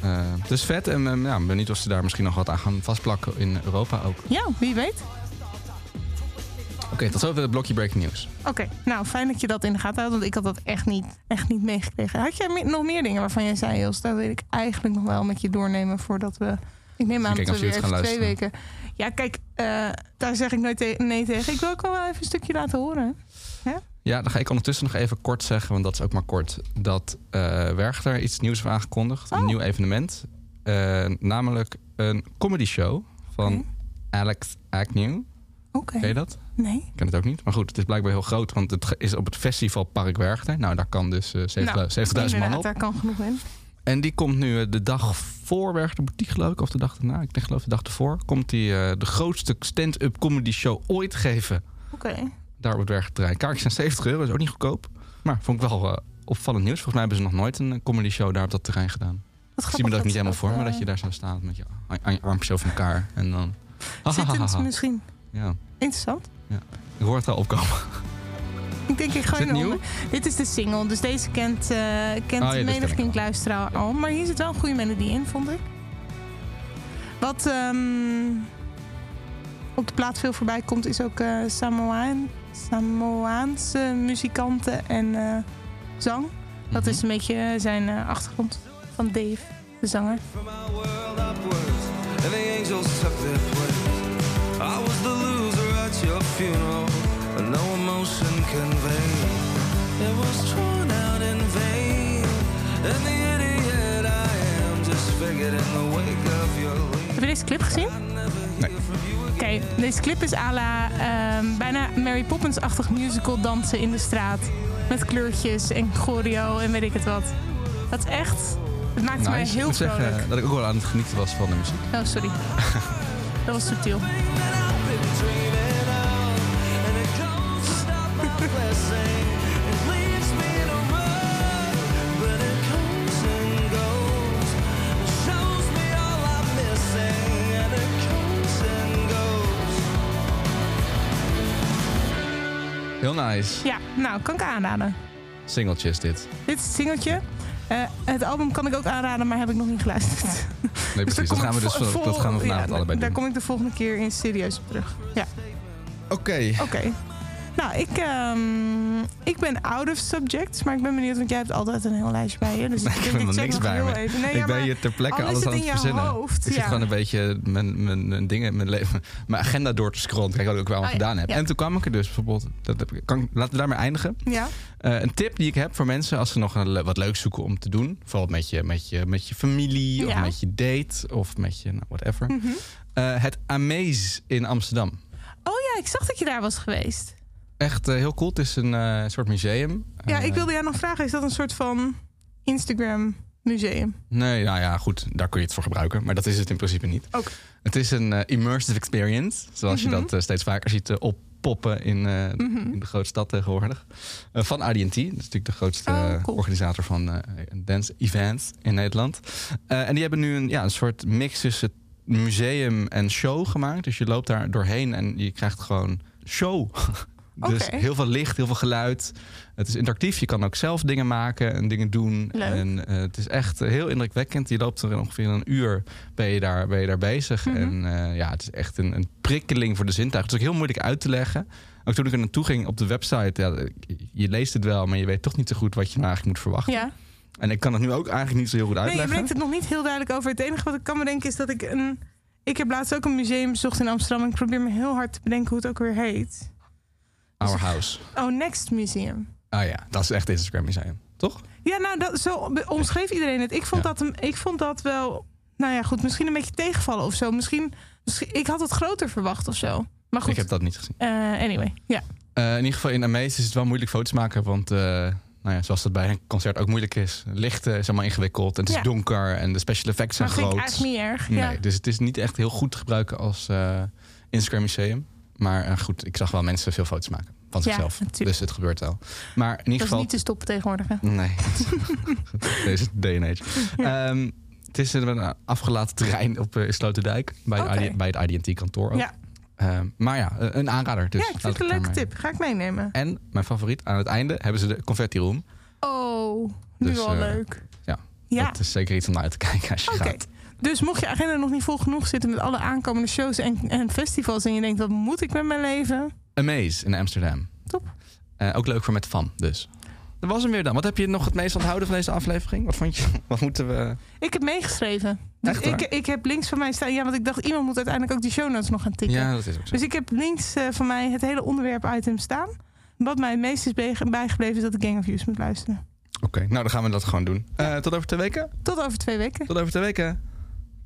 Speaker 1: Eh, dus vet en eh, ja, benieuwd of ze daar misschien nog wat aan gaan vastplakken in Europa ook.
Speaker 2: Ja, wie weet.
Speaker 1: Oké, tot zover het blokje Breaking News.
Speaker 2: Oké, nou fijn dat je dat in de gaten houdt, want ik had dat echt niet, echt niet meegekregen. Had jij me- nog meer dingen waarvan jij zei, Jos, dat wil ik eigenlijk nog wel met je doornemen voordat we... Ik neem aan
Speaker 1: Even
Speaker 2: dat we weer
Speaker 1: kijken of
Speaker 2: even
Speaker 1: je het
Speaker 2: twee
Speaker 1: gaat
Speaker 2: weken... Ja, kijk, eh, daar zeg ik nooit te- nee tegen. Ik wil ook wel even een stukje laten horen.
Speaker 1: Ja, dan ga ik ondertussen nog even kort zeggen, want dat is ook maar kort. Dat eh Werchter iets nieuws heeft aangekondigd.
Speaker 2: Oh.
Speaker 1: Een nieuw evenement. Eh, namelijk een comedy show van
Speaker 2: Oké.
Speaker 1: Alex Agnew.
Speaker 2: Oké.
Speaker 1: Ken je dat?
Speaker 2: Nee.
Speaker 1: Ik ken het ook niet. Maar goed, het is blijkbaar heel groot, want het ge- is op het festival Park Werchter. Nou, daar kan dus eh, 70.000
Speaker 2: Nou,
Speaker 1: 70.000 man
Speaker 2: inderdaad,
Speaker 1: op.
Speaker 2: Daar kan genoeg in.
Speaker 1: En die komt nu eh, de dag voor Werchter Boutique, geloof ik. Of de dag erna. Ik denk geloof de dag ervoor. Komt die eh, de grootste stand-up comedy show ooit geven.
Speaker 2: Oké.
Speaker 1: daar op het Bergterrein. Kaartjes zijn 70 euro, is ook niet goedkoop. Maar vond ik wel eh, opvallend nieuws. Volgens mij hebben ze nog nooit een eh, comedy show daar op dat terrein gedaan.
Speaker 2: Wat
Speaker 1: Ik zie
Speaker 2: grappig
Speaker 1: me dat ook niet
Speaker 2: ze
Speaker 1: helemaal voor, maar
Speaker 2: eh,
Speaker 1: dat je daar zou staan met je, a- aan je armpjes over elkaar. En dan...
Speaker 2: Zittend misschien.
Speaker 1: Ja,
Speaker 2: Interessant.
Speaker 1: ik hoor het al opkomen.
Speaker 2: Ik denk ik gooi
Speaker 1: Is het
Speaker 2: eronder.
Speaker 1: nieuw?
Speaker 2: Dit is de single, dus deze kent, eh kent
Speaker 1: Oh ja, dit
Speaker 2: menig
Speaker 1: ken ik
Speaker 2: kind
Speaker 1: wel.
Speaker 2: luisteraar al. Maar hier zit wel een goede melodie in, vond ik. Wat ehm, op de plaat veel voorbij komt, is ook eh, Samoaan, Samoaanse muzikanten en eh, zang. Dat
Speaker 1: Mhm.
Speaker 2: is een eh, beetje zijn eh, achtergrond van Dave, de zanger.
Speaker 8: From our world upwards, and the angels took their place. I was the loser at your funeral, and no emotion conveyed. It was drawn out in vain, and the idiot I am just figured in the wake of your leave.
Speaker 2: Heb je deze clip gezien?
Speaker 1: Nee.
Speaker 2: Oké, deze clip is à la ehm, bijna Mary Poppins-achtig musical dansen in de straat. Met kleurtjes en choreo en weet ik het wat. Dat is echt... Het maakt mij
Speaker 1: Nice. Ik
Speaker 2: heel
Speaker 1: moet
Speaker 2: vrolijk.
Speaker 1: zeggen eh, dat eh, ik ook wel aan het genieten was van de muziek.
Speaker 2: Oh, sorry. Dat was subtiel.
Speaker 1: Heel nice.
Speaker 2: Ja, nou, kan ik aanraden.
Speaker 1: Singeltje is dit.
Speaker 2: Dit is het singeltje. Eh, het album kan ik ook aanraden, maar heb ik nog niet geluisterd.
Speaker 1: Nee, precies. dat, gaan we dus, van- dat gaan we vanavond allebei
Speaker 2: Daar
Speaker 1: doen.
Speaker 2: kom ik de volgende keer in serieus op terug. Ja,
Speaker 1: Oké.
Speaker 2: oké. Nou, ik, ehm, ik ben out of subjects, maar ik ben benieuwd, want jij hebt altijd een heel lijstje bij je. Dus
Speaker 1: Nee,
Speaker 2: ik,
Speaker 1: ik
Speaker 2: denk,
Speaker 1: heb
Speaker 2: ik
Speaker 1: nog
Speaker 2: check
Speaker 1: niks
Speaker 2: nog
Speaker 1: bij
Speaker 2: heel
Speaker 1: me.
Speaker 2: even. Nee,
Speaker 1: ik
Speaker 2: ja,
Speaker 1: ben
Speaker 2: maar
Speaker 1: hier ter
Speaker 2: al
Speaker 1: plekke
Speaker 2: is
Speaker 1: alles
Speaker 2: het
Speaker 1: aan
Speaker 2: in
Speaker 1: het
Speaker 2: jouw
Speaker 1: verzinnen.
Speaker 2: hoofd,
Speaker 1: ik zit
Speaker 2: ja.
Speaker 1: gewoon een beetje mijn, mijn, mijn dingen, mijn, leven, mijn agenda door te scrollen. Kijk wat ik wel allemaal
Speaker 2: Oh ja,
Speaker 1: gedaan heb.
Speaker 2: ja.
Speaker 1: En toen kwam ik er dus bijvoorbeeld. Dat heb ik- kan, ik- laten we daarmee eindigen.
Speaker 2: Ja,
Speaker 1: Eh, een tip die ik heb voor mensen als ze nog een le- wat leuks zoeken om te doen. Vooral met je, met je, met je familie
Speaker 2: Ja. Mhm.
Speaker 1: of met je date of met je nou, whatever. Eh, het Amaze in Amsterdam.
Speaker 2: Oh ja, ik zag dat je daar was geweest.
Speaker 1: Echt eh, heel cool. Het is een eh, soort museum.
Speaker 2: Ja,
Speaker 1: Eh,
Speaker 2: ik wilde jou nog vragen, is dat een soort van Instagram museum?
Speaker 1: Nee, nou ja, goed. Daar kun je het voor gebruiken. Maar dat is het in principe niet.
Speaker 2: Oké.
Speaker 1: Het is een eh, immersive experience. Zoals
Speaker 2: Mhm.
Speaker 1: je dat eh, steeds vaker ziet eh, oppoppen in, eh, in de grote stad tegenwoordig. Eh, van RDT. Dat is natuurlijk de grootste
Speaker 2: Oh,
Speaker 1: eh,
Speaker 2: cool.
Speaker 1: organisator van eh, dance events in Nederland. Eh, en die hebben nu een, ja, een soort mix tussen museum en show gemaakt. Dus je loopt daar doorheen en je krijgt gewoon show. Dus
Speaker 2: Oké.
Speaker 1: heel veel licht, heel veel geluid. Het is interactief. Je kan ook zelf dingen maken en dingen doen.
Speaker 2: Leuk.
Speaker 1: En eh, het is echt eh, heel indrukwekkend. Je loopt er ongeveer een uur ben je daar, ben je daar bezig.
Speaker 2: Mhm.
Speaker 1: En eh, ja, het is echt een, een prikkeling voor de zintuigen. Het is ook heel moeilijk uit te leggen. Ook toen ik er naartoe ging op de website, ja, eh, je leest het wel, maar je weet toch niet zo goed wat je nou eigenlijk moet verwachten.
Speaker 2: Ja.
Speaker 1: En ik kan het nu ook eigenlijk niet zo heel goed
Speaker 2: Nee, je
Speaker 1: uitleggen.
Speaker 2: brengt het nog niet heel duidelijk over. Het enige wat ik kan bedenken is dat ik een... Ik heb laatst ook een museum bezocht in Amsterdam. En ik probeer me heel hard te bedenken hoe het ook weer heet.
Speaker 1: Our House.
Speaker 2: Oh, Next Museum.
Speaker 1: Ah ja, dat is echt Instagram museum, toch?
Speaker 2: Ja, nou, dat, zo be- omschreef iedereen het. Ik vond,
Speaker 1: Ja.
Speaker 2: dat, een- ik vond dat wel... Nou ja, goed, misschien een beetje tegenvallen of zo. Misschien, misschien- Ik had het groter verwacht of zo. Maar goed,
Speaker 1: Ik heb dat niet gezien.
Speaker 2: eh, anyway. Ja,
Speaker 1: Eh, in ieder geval in Amaze is het wel moeilijk foto's maken, want eh, nou ja, zoals dat bij een concert ook moeilijk is. Lichten is allemaal ingewikkeld en het is
Speaker 2: Ja.
Speaker 1: donker en de special effects zijn
Speaker 2: maar vind ik
Speaker 1: groot.
Speaker 2: eigenlijk niet erg. Ja.
Speaker 1: Nee, dus het is niet echt heel goed te gebruiken als eh, Instagram museum. Maar eh, goed, ik zag wel mensen veel foto's maken
Speaker 2: Ja,
Speaker 1: van zichzelf.
Speaker 2: natuurlijk.
Speaker 1: Dus het gebeurt wel. Maar
Speaker 2: Dat
Speaker 1: in ieder
Speaker 2: is
Speaker 1: geval
Speaker 2: niet te stoppen tegenwoordig. hè.
Speaker 1: Nee. Deze day and age. Ehm, het is een afgelaten terrein op eh, Sloterdijk. Bij,
Speaker 2: Oké.
Speaker 1: ID bij het IDT-kantoor ook.
Speaker 2: Ja.
Speaker 1: Ehm, maar ja, eh, een aanrader. Dus
Speaker 2: ja, ik
Speaker 1: laat
Speaker 2: vind het een
Speaker 1: het
Speaker 2: leuke
Speaker 1: daarmee.
Speaker 2: tip. Ga ik meenemen.
Speaker 1: En mijn favoriet, aan het einde hebben ze de confetti room.
Speaker 2: Oh, nu
Speaker 1: Dus,
Speaker 2: al
Speaker 1: eh,
Speaker 2: leuk.
Speaker 1: ja,
Speaker 2: Ja.
Speaker 1: Dat is zeker iets om naar uit te kijken als je
Speaker 2: Oké.
Speaker 1: gaat.
Speaker 2: Dus mocht je agenda nog niet vol genoeg zitten met alle aankomende shows en, en festivals en je denkt, wat moet ik met mijn leven?
Speaker 1: Amaze in Amsterdam.
Speaker 2: Top.
Speaker 1: Eh, ook leuk voor met Van, dus. Dat was hem weer dan. Wat heb je nog het meest onthouden van deze aflevering? Wat vond je? Wat moeten we...
Speaker 2: Ik heb meegeschreven. Dus
Speaker 1: Echt waar?
Speaker 2: ik, ik heb links van mij staan, ja, want ik dacht, iemand moet uiteindelijk ook die show notes nog gaan tikken.
Speaker 1: Ja, dat is ook zo.
Speaker 2: Dus ik heb links eh, van mij het hele onderwerp-item staan. Wat mij het meest is bege- bijgebleven is dat ik Gang of Views moet luisteren.
Speaker 1: Oké, nou dan gaan we dat gewoon doen. Eh, tot over twee weken.
Speaker 2: Tot over twee weken.
Speaker 1: Tot over twee weken.